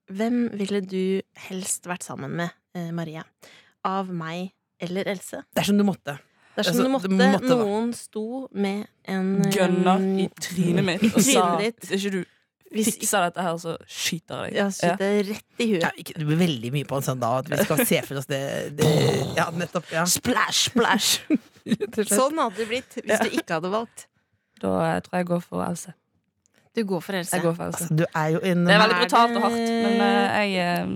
C: Hvem ville du helst vært sammen med, eh, Maria? Av meg eller Else?
D: Det er som du måtte.
C: Det er som
D: Altså,
C: det måtte,
D: det måtte være.
C: noen sto med en eh,
F: Gønna i trynet mitt og sa
C: trynet ditt.
F: hvis ikke du
C: Hvis
F: fikser dette her, så skyter jeg
C: Ja,
F: deg.
C: skyt det rett i
D: Ja,
C: huet.
D: ikke, det blir veldig mye på en søndag at vi skal se for oss det, det Ja, nettopp. Ja.
F: Splash, splash!
C: Sånn hadde det blitt hvis du ikke hadde valgt.
F: Da eh, tror jeg jeg går for Else.
C: Du går for Else.
F: Jeg går for Else.
D: Altså, du er jo en
F: Det er
D: La
F: veldig
C: Er
F: brutalt og hardt,
C: det-
F: men eh, jeg, eh,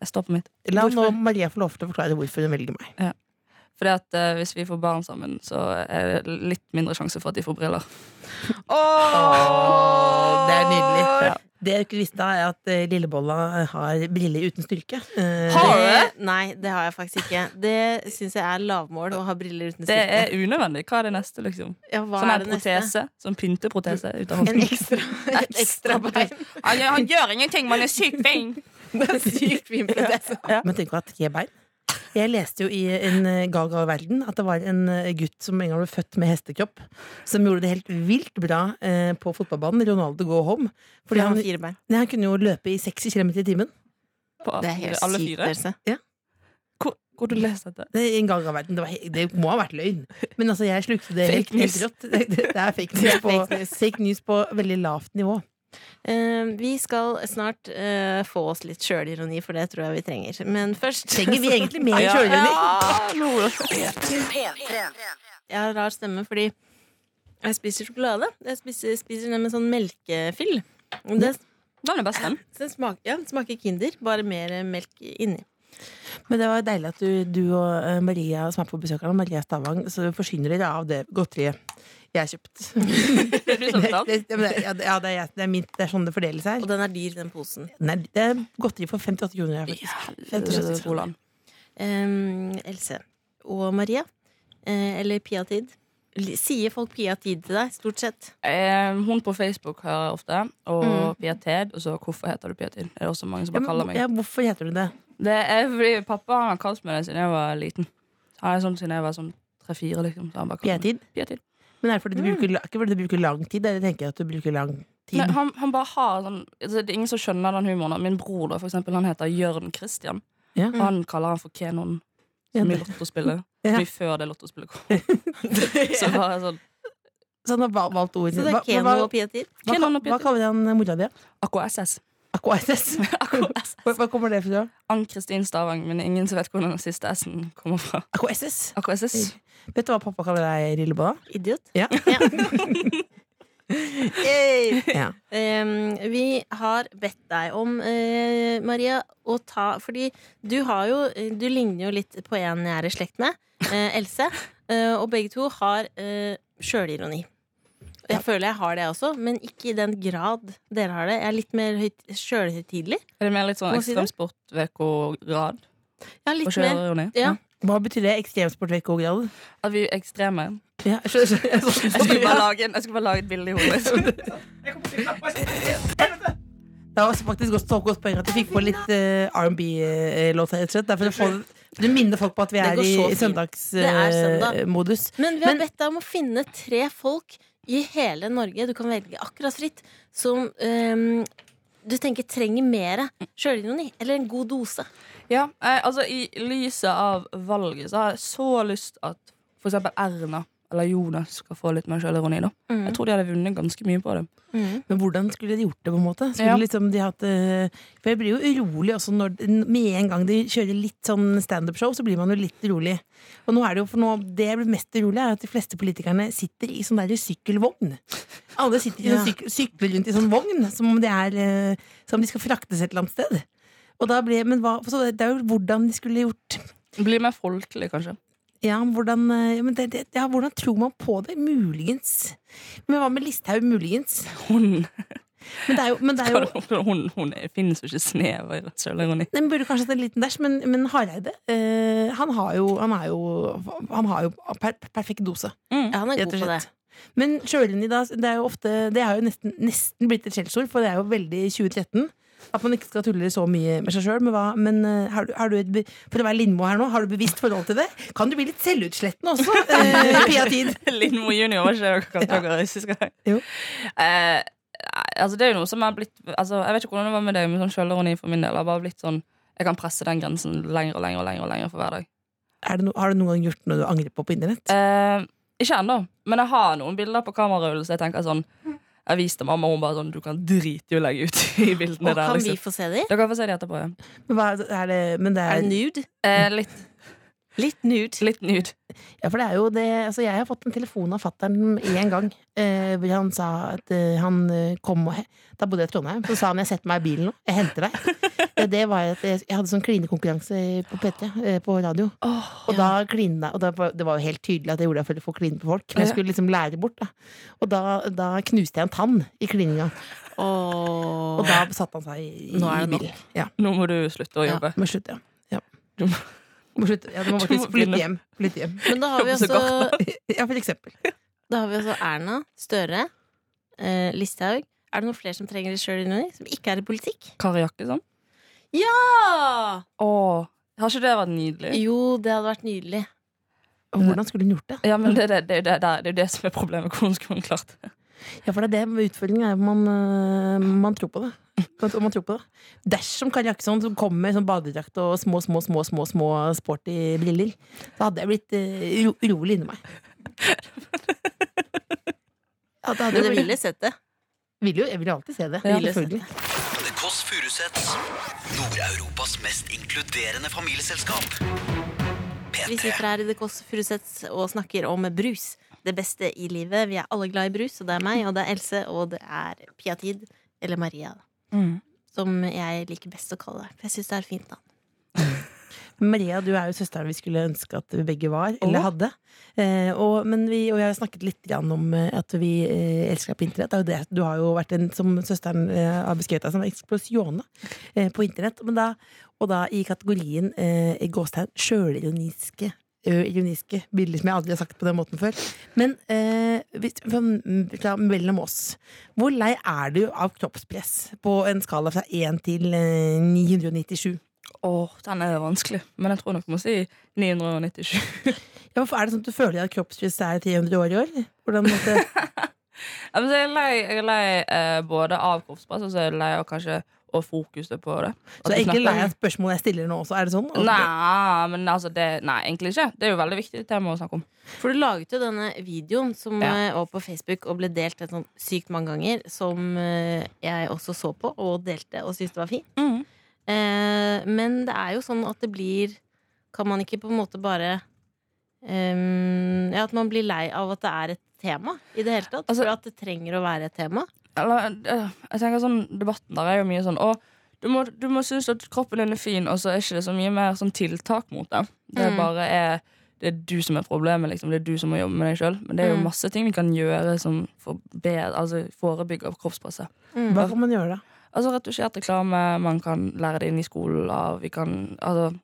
F: jeg står på mitt.
D: nå Maria få lov til å forklare hvorfor hun velger meg.
F: Fordi at eh, hvis vi får barn sammen, så er det litt mindre sjanse for at de får briller.
D: Åh, det er nydelig.
F: Ja.
D: Det jeg ikke visste, er at eh, Lillebolla har briller uten styrke. Eh,
F: Har du
C: Det-
F: det?
C: Nei, det har jeg faktisk ikke. Det syns jeg er lavmål å ha briller uten
F: Det
C: styrke.
F: er unødvendig. Hva er det neste, liksom?
C: Ja, hva
F: Sånn
C: er
F: en
C: det neste?
F: protese. Sånn pynteprotese ut av
C: En
F: hånden.
C: ekstra, et ekstra bein.
F: Han, han gjør ingenting, man er sykt fin!
C: Det er sykt fin protese.
D: Men tenk å ha tre bein. Jeg leste jo i en eh, gal gal verden at det var en eh, gutt som en gang ble født med hestekropp, som gjorde det helt vilt bra eh, på fotballbanen. Ronaldo go home. Fordi han,
C: fire bein.
D: nei, han kunne jo løpe i 60 km i timen.
F: På
C: Det er helt
F: alle
C: sykt,
F: fire.
C: Else.
F: Hvor, hvor du leser dette?
D: Det, er en gal gal verden. Det, var, he- det må ha vært løgn. Men altså, jeg slukte det helt,
F: Fake
D: helt
F: news.
D: rått. Det, det, det er fake news,
C: Det er
D: på,
C: fake news.
D: fake news på veldig lavt nivå.
C: Eh, vi skal snart eh, få oss litt sjølironi, for det tror jeg vi trenger. Men først
D: Trenger vi egentlig mer
F: Ja.
D: sjølironi?
C: Jeg har rar stemme fordi jeg spiser sjokolade. Jeg spiser, spiser den med sånn melkefyll. Det,
F: Den er best, den.
C: så den smaker, ja, den smaker Kinder, bare mer eh, melk inni.
D: Men det var deilig at du, du og eh, Maria som er på besøk her, nå, Maria Stavang, så forsyner dere av det godteriet jeg har kjøpt.
F: Det er du som
D: det,
F: betaler.
D: det, men det- ja, det, ja, det, er, jeg- det, er mitt, det er sånn det fordeles her.
C: Og den er dyr, den posen.
D: Nei, det er godteri for 58 kroner. her, faktisk.
F: Eh, Roland.
C: Em, Ehm, Else og Maria, eh, eller Pia Tid. Li- Sier folk Pia Tid til deg, stort sett?
F: Eh, hun på Facebook hører jeg ofte, og
C: Mm.
F: Pia Ted. Og så hvorfor heter du Pia Ted? Er det også mange som
D: Ja,
F: bare kaller
D: men,
F: meg
D: ja, hvorfor heter du det?
F: Det er fordi pappa han har kalt meg det siden jeg var liten. Han er sånn siden jeg var sånn tre-fire, liksom. Så han bare kalte meg
D: P-tid?
F: P-tid.
D: Men er det fordi du bruker, la- ikke fordi du bruker lang tid? Eller tenker jeg at du bruker lang tid?
F: Mm. Nei, han, han bare har sånn altså, Det er ingen som skjønner den humoren. Min bror da, for eksempel, han heter Jørn Christian.
D: Ja.
F: Og han kaller han for Kenon.
D: Mm. Ja,
F: Som i
D: det-
F: lottospillet.
D: Ja.
F: Mye før det lottospillet kom. så bare sånn
D: Så han har val- valgt ord.
C: Så det er
D: Hva-
C: Keno
D: hva-
C: og Pia Tid?
D: hva-
F: Kenan og
D: hva, hva
F: Peter.
D: kaller han eh, mora di?
F: AKSS.
D: AKSS?
F: AKSS.
D: Hvor- Hva kommer det fra?
F: Ann-Kristin Stavang, men ingen som vet hvor den siste S-en kommer fra.
D: AKSS?
F: AKSS.
D: Vet du hva pappa kaller deg, Rillebolla?
C: Idiot?
D: Ja.
C: Ja. Yay!
D: Ja.
C: Em, vi har bedt deg om, eh, Maria, å ta Fordi du har jo Du ligner jo litt på en jeg er i slekt med, eh, Else. eh, og begge to har uh, sjølironi. Jeg føler jeg har det også, men ikke i den grad dere har det. Jeg er litt mer høyt- sjølhøytidelig.
F: Er det mer litt sånn
C: Hva sier du?
F: ekstremsport-VK-grad?
C: Ja, litt mer ja.
F: Ja.
D: Hva betyr det? Ekstremsportvekkeograd?
F: At vi er ekstreme.
D: Ja, jeg skjønner- jeg skjønner-
F: Jeg skulle bare lage, en- jeg skulle bare lage et bilde i hodet.
D: Det var faktisk også et godt poeng at du fikk på litt eh, R&B-låt her, rett og slett. Det er for å få- Du minner folk på at vi
C: Det
D: er
C: går
D: i, eh,
C: så
D: i
C: fint. Det er søndag.
D: søndagsmodus.
C: Men vi har
D: Men-
C: bedt deg om å finne tre folk i hele Norge, du kan velge akkurat fritt, som ehm, du tenker trenger mer sjølironi. Eller en god dose.
F: Ja, eh, altså I lyset av valget så har jeg så lyst at f.eks. Erna eller Jonas skal få litt mer sjølironi. da Jeg tror de hadde vunnet ganske mye på det.
D: Men hvordan skulle de gjort det? på en måte? Skulle
F: Ja.
D: liksom de hatt eh, For jeg blir jo urolig også når Med en gang de kjører litt sånn standup-show, så blir man jo litt urolig. Og nå er det jo for noe Det jeg blir mest urolig, er at de fleste politikerne sitter i sånn der sykkelvogn. Alle sitter i sånn
C: Ja.
D: syk sykler rundt i sånn vogn, som om de, er, eh, som om de skal fraktes et eller annet sted. Og da blir, men hva, så det er jo hvordan de skulle gjort
F: Bli mer folkelig, kanskje.
D: ja, hvordan, eh, men det, det, ja, hvordan tror man på det? Muligens. Men hva med Listhaug? Muligens.
F: Hun,
D: Men det er jo, men det er jo
F: hun, hun, hun er- finnes jo ikke snever i sjølironi.
D: Nei, men burde kanskje hatt en liten dash, men, men Hareide eh, han, har jo, han, er jo, han har jo per, perfekt dose,
C: Ja, han er
D: rett
C: god på
D: og
C: det.
D: slett. Men sjølironi, da, det er jo ofte Det er jo nesten, nesten blitt et skjellsord, for det er jo veldig 2013. At man ikke skal tulle så mye med seg sjøl. Men, hva- men eh, har du, har du et, be- for å være Lindmo her nå, har du bevisst forhold til det? Kan du bli litt selvutslettende også? Eh, Pia Tid.
F: Lindmo junior, var ikke det dere kalte dere sist gang?
D: Jo.
F: Eh, nei, altså, det er jo noe som er blitt altså, Jeg vet ikke hvordan det var med deg, men sånn sjølironi for min del har bare blitt sånn Jeg kan presse den grensen lenger og lenger og lenger, og lenger for hver dag.
D: Er det no, har du noen gang gjort noe du angrer på på internett?
F: Eh, ikke ennå, men jeg har noen bilder på kamerarullelse. Jeg tenker sånn Jeg viste mamma, og hun bare sånn Du kan drite i å legge ut i bildene
C: Og
F: der.
C: kan vi
F: Liksom.
C: få se de?
F: Dere kan få se de etterpå. Ja.
D: Men Hva, er det, men det
C: Er
D: er,
C: det nude?
F: Eh, litt,
C: Litt nude.
F: litt nude.
D: ja, for det er jo det altså Jeg har fått en telefon av fattern én gang. Eh, hvor han sa at eh, han eh, kom og he- Da bodde jeg i Trondheim. Så sa han 'jeg setter meg i bilen nå, jeg henter deg'. Eh, det var at jeg, jeg hadde sånn klinekonkurranse på PT, eh, på radio. Og da klina Og da, var- det var jo helt tydelig at jeg gjorde det for å få kline på folk. Men jeg skulle liksom lære bort, da. Og da, da knuste jeg en tann i klininga. Og da satte han seg i, i
C: Nå er det nok.
D: bilen. Ja.
F: Nå må du slutte å jobbe.
D: Ja, må slutte, ja. ja. Du må slutte, ja, du må
F: Du
D: faktisk
F: må
D: flytte
F: begynne.
D: hjem. Flytte hjem.
C: Men da har vi
F: Så
C: også,
D: Ja, for eksempel.
C: da har vi også Erna, Støre, eh, Listhaug. Er det noen flere som trenger sjølironi? Som ikke er i politikk?
F: Kari Jakkesson. Åh, Har ikke det vært nydelig?
C: Jo, det hadde vært nydelig.
D: Og hvordan skulle hun gjort det?
F: Ja, men det er det, det, er det, der- det, er jo det som er problemet. Hvordan skulle hun klart det?
D: Ja, for det er det med utfordringen er at man, øh, man tror på det. At- Om man tror på det. Dersom Kari Jakkesson som kommer med sånn badedrakt og små, små, små, små, små sporty briller, da hadde jeg blitt øh, uro- urolig inni meg. Ja, det hadde
C: Men
D: jeg
C: dere
D: blitt-
C: ville sett det.
D: ville jo, jeg vil jo alltid se det.
C: Ja.
D: selvfølgelig.
B: The Kåss Furuseths. Nord-Europas mest inkluderende familieselskap.
C: Vi
B: P3.
C: sitter her i The Kåss Furuseths og snakker om brus. Det beste i livet. Vi er alle glad i brus, og det er meg, og det er Else, og det er Pia Tid, eller Maria, Mm. som jeg liker best å kalle det. For jeg syns det er et fint navn.
D: Maria, du er jo søsteren vi skulle ønske at vi begge var, eller
F: Åh.
D: hadde. Eh, og, men vi, og jeg har snakket litt grann om eh, at vi eh, elsker deg på internett. Det er jo det. Du har jo vært en som søsteren eh, har beskrevet deg som, eksplosione eh, på internett. Men da, og da i kategorien eh, i gåstegn sjølironiske. ø, Ironiske bilder som jeg aldri har sagt på den måten før. Men eh, hvis- fra- fra mellom oss, hvor lei er du av kroppspress på en skala fra 1 til eh, 997?
F: Åh, den er vanskelig. Men jeg tror nok jeg må si 997.
D: Ja, hvorfor er det sånn at du føler at kroppspress er 300 år i år? Hvordan måtte,
F: Ja, men så er Jeg er lei, jeg er lei eh, både av kroppspress og så er jeg lei av kanskje å fokuset på det.
D: så jeg er egentlig lei av spørsmålet jeg stiller nå også. Er det sånn? Og-
F: Nei, men altså det, nei, egentlig ikke. Det er jo veldig viktig tema å snakke om.
C: For du laget jo denne videoen som
F: Ja.
C: eh, var på Facebook og ble delt et sånt sykt mange ganger, som eh, jeg også så på og delte og syntes det var fint.
D: Mm.
C: Eh, men det er jo sånn at det blir ehm, Kan man ikke på en måte bare eh, Ja, at man blir lei av at det er et tema i det hele tatt?
F: Altså-
C: for at det trenger å være et tema?
F: Eller, øh, jeg tenker sånn, Debatten der er jo mye sånn Å, du må, du må synes at kroppen din er fin, og så er ikke det så mye mer sånn tiltak mot det. Det
C: Mm.
F: bare er det er du som er problemet. liksom, Det er du som må jobbe med deg sjøl. Men det er jo
C: Mm.
F: masse ting vi kan gjøre som forbedre, altså forebygger kroppspresset.
D: Hva
F: Mm.
D: kan man gjøre da?
F: Altså Retusjert reklame, man kan lære det inn i skolen av Vi kan altså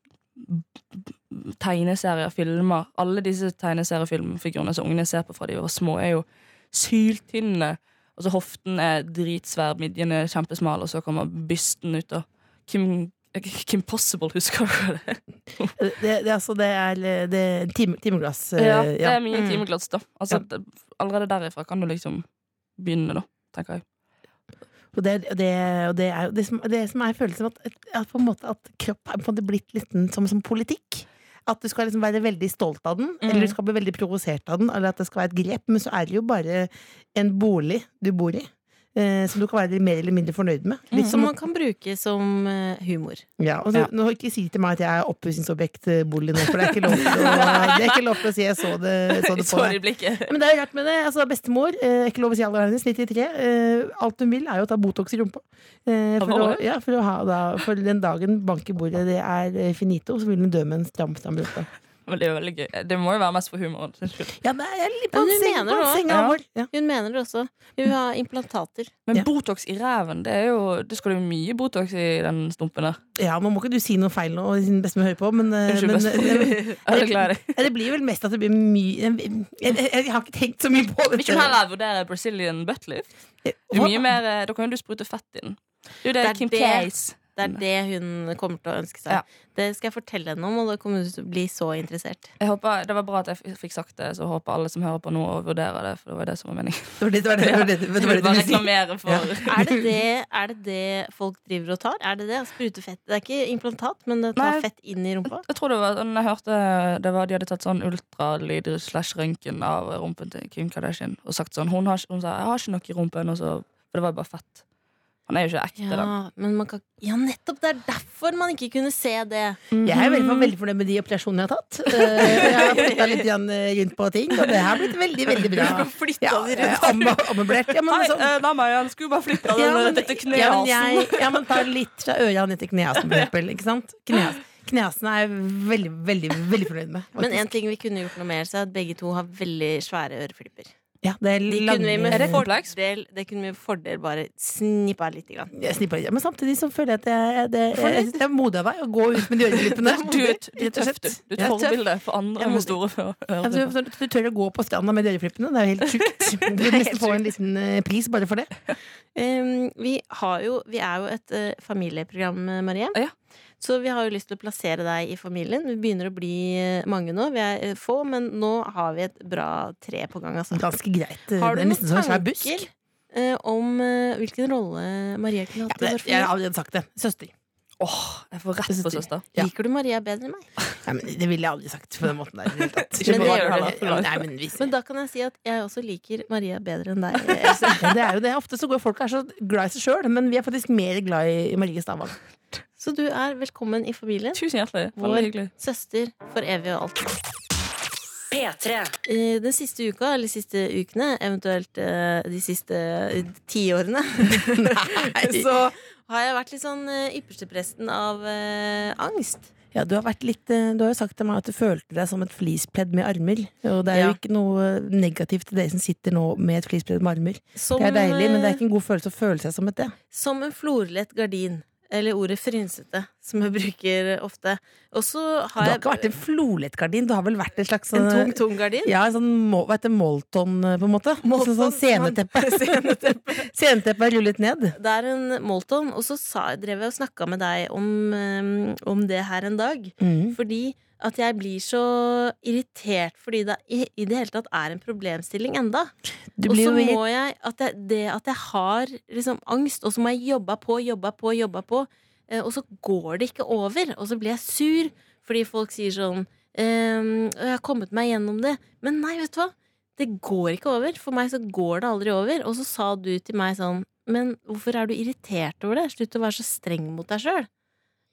F: Tegneserier, filmer. Alle disse tegneseriefilmfigurene som ungene ser på fra de var små, er jo syltynne. Altså Hoften er dritsvær, midjen er kjempesmal, og så kommer bysten ut. Og Kim, Kim Possible, husker du det?
D: Det, det, altså, det er, det er time, timeglass. eh,
F: Ja, det
D: ja.
F: er mye
C: Mm.
F: timeglass, da. Altså, det- Allerede derifra kan du liksom begynne, da, tenker jeg.
D: Og det, og det, og det er jo det som, det som er følelsen av at, at, på en måte at kropp er på en måte blitt litt sånn som, som politikk. At du skal liksom være veldig stolt av den,
F: Mm.
D: eller du skal bli veldig provosert av den, eller at det skal være et grep. Men så er det jo bare en bolig du bor i, eh, som du kan være mer eller mindre fornøyd med.
F: Mm,
D: Litt
C: Som
D: som
C: man kan bruke som eh, humor.
D: ja, og så,
F: Ja.
D: Nå Ikke si til meg at jeg er oppussingsobjekt eh, bolig nå, for det er ikke lov til å, det er ikke lov til å si. Jeg så det, så det på
F: Så
D: deg.
F: det i blikket.
D: Ja, Men det er jo rart med det. Altså, bestemor, eh, ikke lov å si alderen hennes, 93. Eh, alt hun vil, er jo å ta Botox i rumpa. Eh, for, å,
F: Alvorlig?
D: ja, for, å ha, da, for den dagen bank i bordet det er eh, finito, så vil hun dø med en stram, stram rumpe.
F: Men det er jo veldig gøy. Det må jo være mest for humoren. sin skyld.
D: Ja, men jeg er litt
C: Ja,
D: på
C: men
D: en
C: hun
D: seng,
C: mener
D: på en
C: det
D: seng
F: også.
D: alvor. Ja.
C: Hun mener det også. Hun vil ha implantater.
F: Men
D: Ja.
F: Botox i ræven, det er jo Det skal jo mye Botox i den stumpen der.
D: ja, nå må ikke du si noe feil nå, siden bestemor hører på, men, eh,
F: Unnskyld,
D: men
F: bestemor.
D: eh,
F: Jeg er glad i deg.
D: ja, det blir vel mest at det blir mye jeg, jeg, jeg har ikke tenkt så mye på
F: Vil ikke du heller vurdere Brazilian buttlift? Det er mye mer, eh, Da kan jo du sprute fett inn. Det er jo det,
C: Det er
F: Kim
C: det.
F: Clays.
C: Det er det hun kommer til å ønske seg.
F: Ja.
C: Det skal jeg fortelle henne om, og da kommer hun til å bli så interessert.
F: Jeg håper, det var bra at jeg f- fikk sagt det, så håper alle som hører på nå, å vurdere det. For det var det som var meningen.
D: Det var det- det var det- det var det- det var det- det var det
F: Bare
D: du ville si.
F: reklamere for
C: Er det det, er det det folk driver og tar? Er det det? Sprute fett? Det er ikke implantat, men det tar
F: Nei.
C: fett inn i rumpa?
F: Jeg tror det var sånn, jeg hørte det var, De hadde tatt sånn ultralyd slash røntgen av rumpen til Kim Kardashian og sagt sånn Hun, har, ikke- hun sa 'jeg har ikke noe i rumpen', og så, for det var jo bare fett. Han er jo ikke ekte, da.
C: Ja, men man kan, ja, nettopp! Det er derfor man ikke kunne se det.
D: Jeg er veldig, veldig fornøyd med de operasjonene jeg har tatt. Eh, Jeg har flytta litt grann, eh, rundt på ting, og det har blitt veldig veldig bra. Ja, eh, amme- Ammeblært. Ja, men
F: Hei,
D: sånn-
F: eh, nei, Mariann, skulle bare
D: ja,
F: flytta den
D: men-
F: dette
D: ja, men
F: knehalsen.
D: jeg- Ja, men ta litt fra øret og ned til knehasen, for eksempel. Ikke sant? Knehas- Knehasen er jeg veldig, veldig veldig fornøyd med. faktisk.
C: Men en ting vi kunne gjort noe mer, så er at begge to har veldig svære øreflipper.
D: ja, det er
C: De
D: lange,
C: kunne vi med
F: Er det kompleks?
C: fordel, det kunne vi med fordel bare snippa litt. Grann.
D: jeg snipper litt. Men samtidig så føler jeg at jeg, det, jeg, jeg synes det er modig av deg å gå ut med de øreflippene.
F: Du, er- du er
D: Rett og
F: tøff,
D: slett.
F: du. Du
D: Jeg er
F: er et
D: tøff.
F: forbilde for andre
D: Jeg må-
F: med store ører.
D: Ja, men Du, du, du tør å gå på stranda med de øreflippene. Det er jo helt sjukt. Du burde nesten få en liten eh, pris bare for det.
C: Um, vi, har jo, vi er jo et eh, familieprogram, eh, Marie.
F: Ja.
C: Så vi har jo lyst til å plassere deg i familien. Vi begynner å bli eh, mange nå. Vi er eh, få, men nå har vi et bra tre på gang. Altså.
D: Ganske greit.
C: Har
D: det
C: du
D: er nesten som en
C: noen
D: svær busk.
C: tanker eh, om eh, hvilken rolle Maria kunne
D: Ja,
C: hatt? i
D: det,
C: vår
D: jeg har
C: familie?
D: allerede sagt det. Søster.
F: Åh, jeg får rett på søster.
D: ja.
C: Liker du Maria bedre enn meg?
D: Nei, men det ville jeg aldri sagt på den måten der. i det hele tatt.
F: Ikke
C: Men det gjør
F: du.
D: Ja, Nei, men hvis-
C: Men da kan jeg si at jeg også liker Maria bedre enn deg. Else.
D: Ja, det er jo det. Ofte så går folk og er så glad i seg sjøl, men vi er faktisk mer glad i Marie Stavang.
C: Så du er velkommen i familien.
F: Tusen hjertelig.
C: Vår
F: Veldig hyggelig.
C: søster for evig og alltid.
A: P3.
C: Eh, Den siste uka, eller siste ukene, eventuelt eh, de siste eh, tiårene, så har jeg vært litt sånn eh, ypperstepresten av eh, angst.
D: Ja, du har, vært litt, eh, du har jo sagt til meg at du følte deg som et flispledd med armer. Og det er
C: Ja.
D: jo ikke noe negativt til dere som sitter nå med et flispledd med armer.
C: Som,
D: Det er deilig, men det er
C: eh,
D: ikke en god følelse å føle seg som et det.
C: Som en florlett gardin. Eller ordet frynsete, som jeg bruker ofte. Og så
D: Du
C: har
D: har
C: jeg
D: ikke vært en flolettgardin, du har vel vært en slags
C: en
D: eh,
C: tung, tung gardin.
D: Ja, en sånn mo- hva heter det, molton, eh, på en måte.
C: Molton,
D: sånn, sånn sceneteppe. sceneteppe er rullet ned.
C: Det er en molton, og så sa, drev jeg og snakka med deg om, eh, om det her en dag.
D: Mm.
C: Fordi at jeg blir så irritert fordi det i, i det hele tatt er en problemstilling enda.
D: Du
C: Og
D: blir
C: så
D: jo irritert.
C: må jeg at jeg, Det at jeg har liksom angst, og så må jeg jobbe på, jobbe på, jobbe på, eh, og så går det ikke over. Og så blir jeg sur fordi folk sier sånn ehm, «Å, 'Jeg har kommet meg gjennom det'. Men nei, vet du hva? Det går ikke over. For meg så går det aldri over. Og så sa du til meg sånn 'Men hvorfor er du irritert over det? Slutt å være så streng mot deg sjøl'.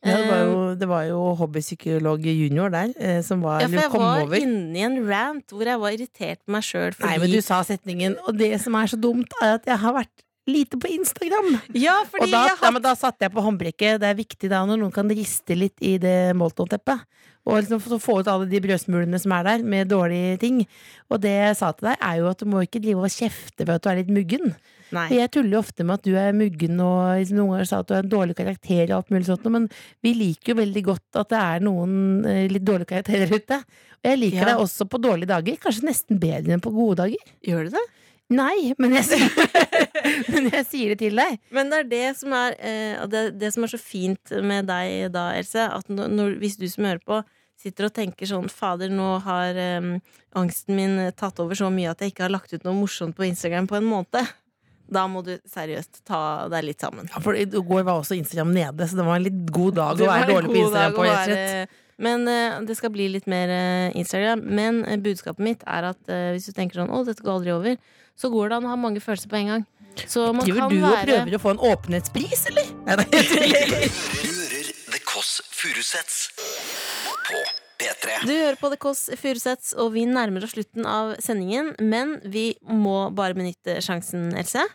D: Ja, det, var jo, det var jo hobbypsykolog junior der eh, som var,
C: Ja, for
D: eller
C: jeg
D: kom
C: var
D: over.
C: inne i en rant hvor jeg var irritert på meg sjøl fordi
D: Nei, men du sa setningen, og det som er så dumt, er at jeg har vært lite på Instagram.
C: Ja, fordi
D: og da,
C: jeg
D: ja,
C: har
D: men da satte jeg på håndbrekket. Det er viktig da når noen kan riste litt i det moltonteppet. Og liksom få- få ut alle de brødsmulene som er der, med dårlige ting. Og det jeg sa til deg, er jo at du må ikke drive og kjefte ved at du er litt muggen.
C: Nei.
D: Og Jeg tuller jo ofte med at du er muggen og liksom noen ganger sa at du har en dårlig karakter og alt mulig sånt, men vi liker jo veldig godt at det er noen eh, litt dårlige karakterer ute. Og jeg liker
C: Ja.
D: deg også på dårlige dager, kanskje nesten bedre enn på gode dager.
C: Gjør du det?
D: Nei, men jeg sier, men jeg sier det til deg.
C: Men det er det som er, eh, og det, det som er så fint med deg da, Else, at når, når, hvis du som hører på, sitter og tenker sånn Fader, nå har eh, angsten min tatt over så mye at jeg ikke har lagt ut noe morsomt på Instagram på en måned. Da må du seriøst ta deg litt sammen.
D: Ja, for I går var også Instagram nede, så det var en litt god dag
C: Det
D: å være
C: var en
D: dårlig på
C: god
D: Instagram
C: dag
D: på.
C: å
D: rett og slett.
C: være- Men eh, det skal bli litt mer eh, Instagram. Men eh, budskapet mitt er at eh, hvis du tenker sånn Å, dette går aldri over, så går det an å ha mange følelser på en gang. Så man
D: Driver
C: kan
D: du og
C: være
D: prøver å få en åpenhetspris, eller? Nei, da, jeg tuller.
B: Hører The Kåss Furuseths på P3.
C: Du hører på The Kåss Furuseths, og vi nærmer oss slutten av sendingen. Men vi må bare benytte sjansen, Else.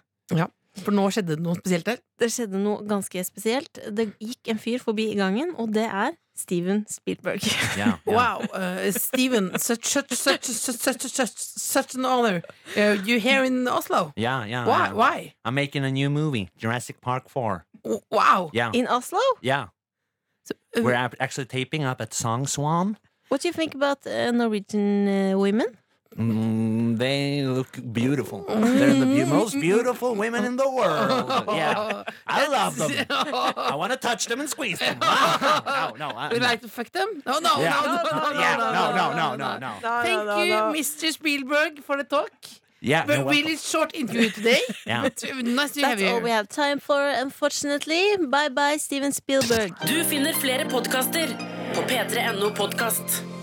D: For nå skjedde det noe spesielt der.
C: Det skjedde noe ganske spesielt. Det gikk en fyr forbi i gangen, og det er Steven Spielberg.
G: Ja, ja.
D: Wow, uh, Steven, such, such, such, such, such, such, such an honor. Uh, you here in Oslo?
G: Yeah, yeah,
D: Why?
G: yeah.
D: Why?
G: I'm making a new movie, Jurassic Park 4.
D: Oh, Wow.
G: Yeah,
C: In Oslo?
G: yeah.
D: uh,
G: We're ap- actually taping up at Song Swan.
C: What do you think about uh, Norwegian uh, women?
G: Mm, they look beautiful. They're the be- most beautiful women in the world. Yeah, I love them. I want to touch them and squeeze them. No, no, I,
D: Would you like to fuck them? No, no,
G: Yeah.
D: no, no, no, no,
G: yeah,
D: no,
G: no, no, no,
D: no,
G: no, no.
D: Thank you, Mr. Spielberg, for the talk.
G: Yeah,
D: Very
G: you're welcome.
D: really short interview today.
G: Yeah.
D: nice to have
C: That's
D: you.
C: all we have time for, unfortunately. Bye bye, Steven Spielberg.
A: Du finner flere podkaster på p3.no podkast.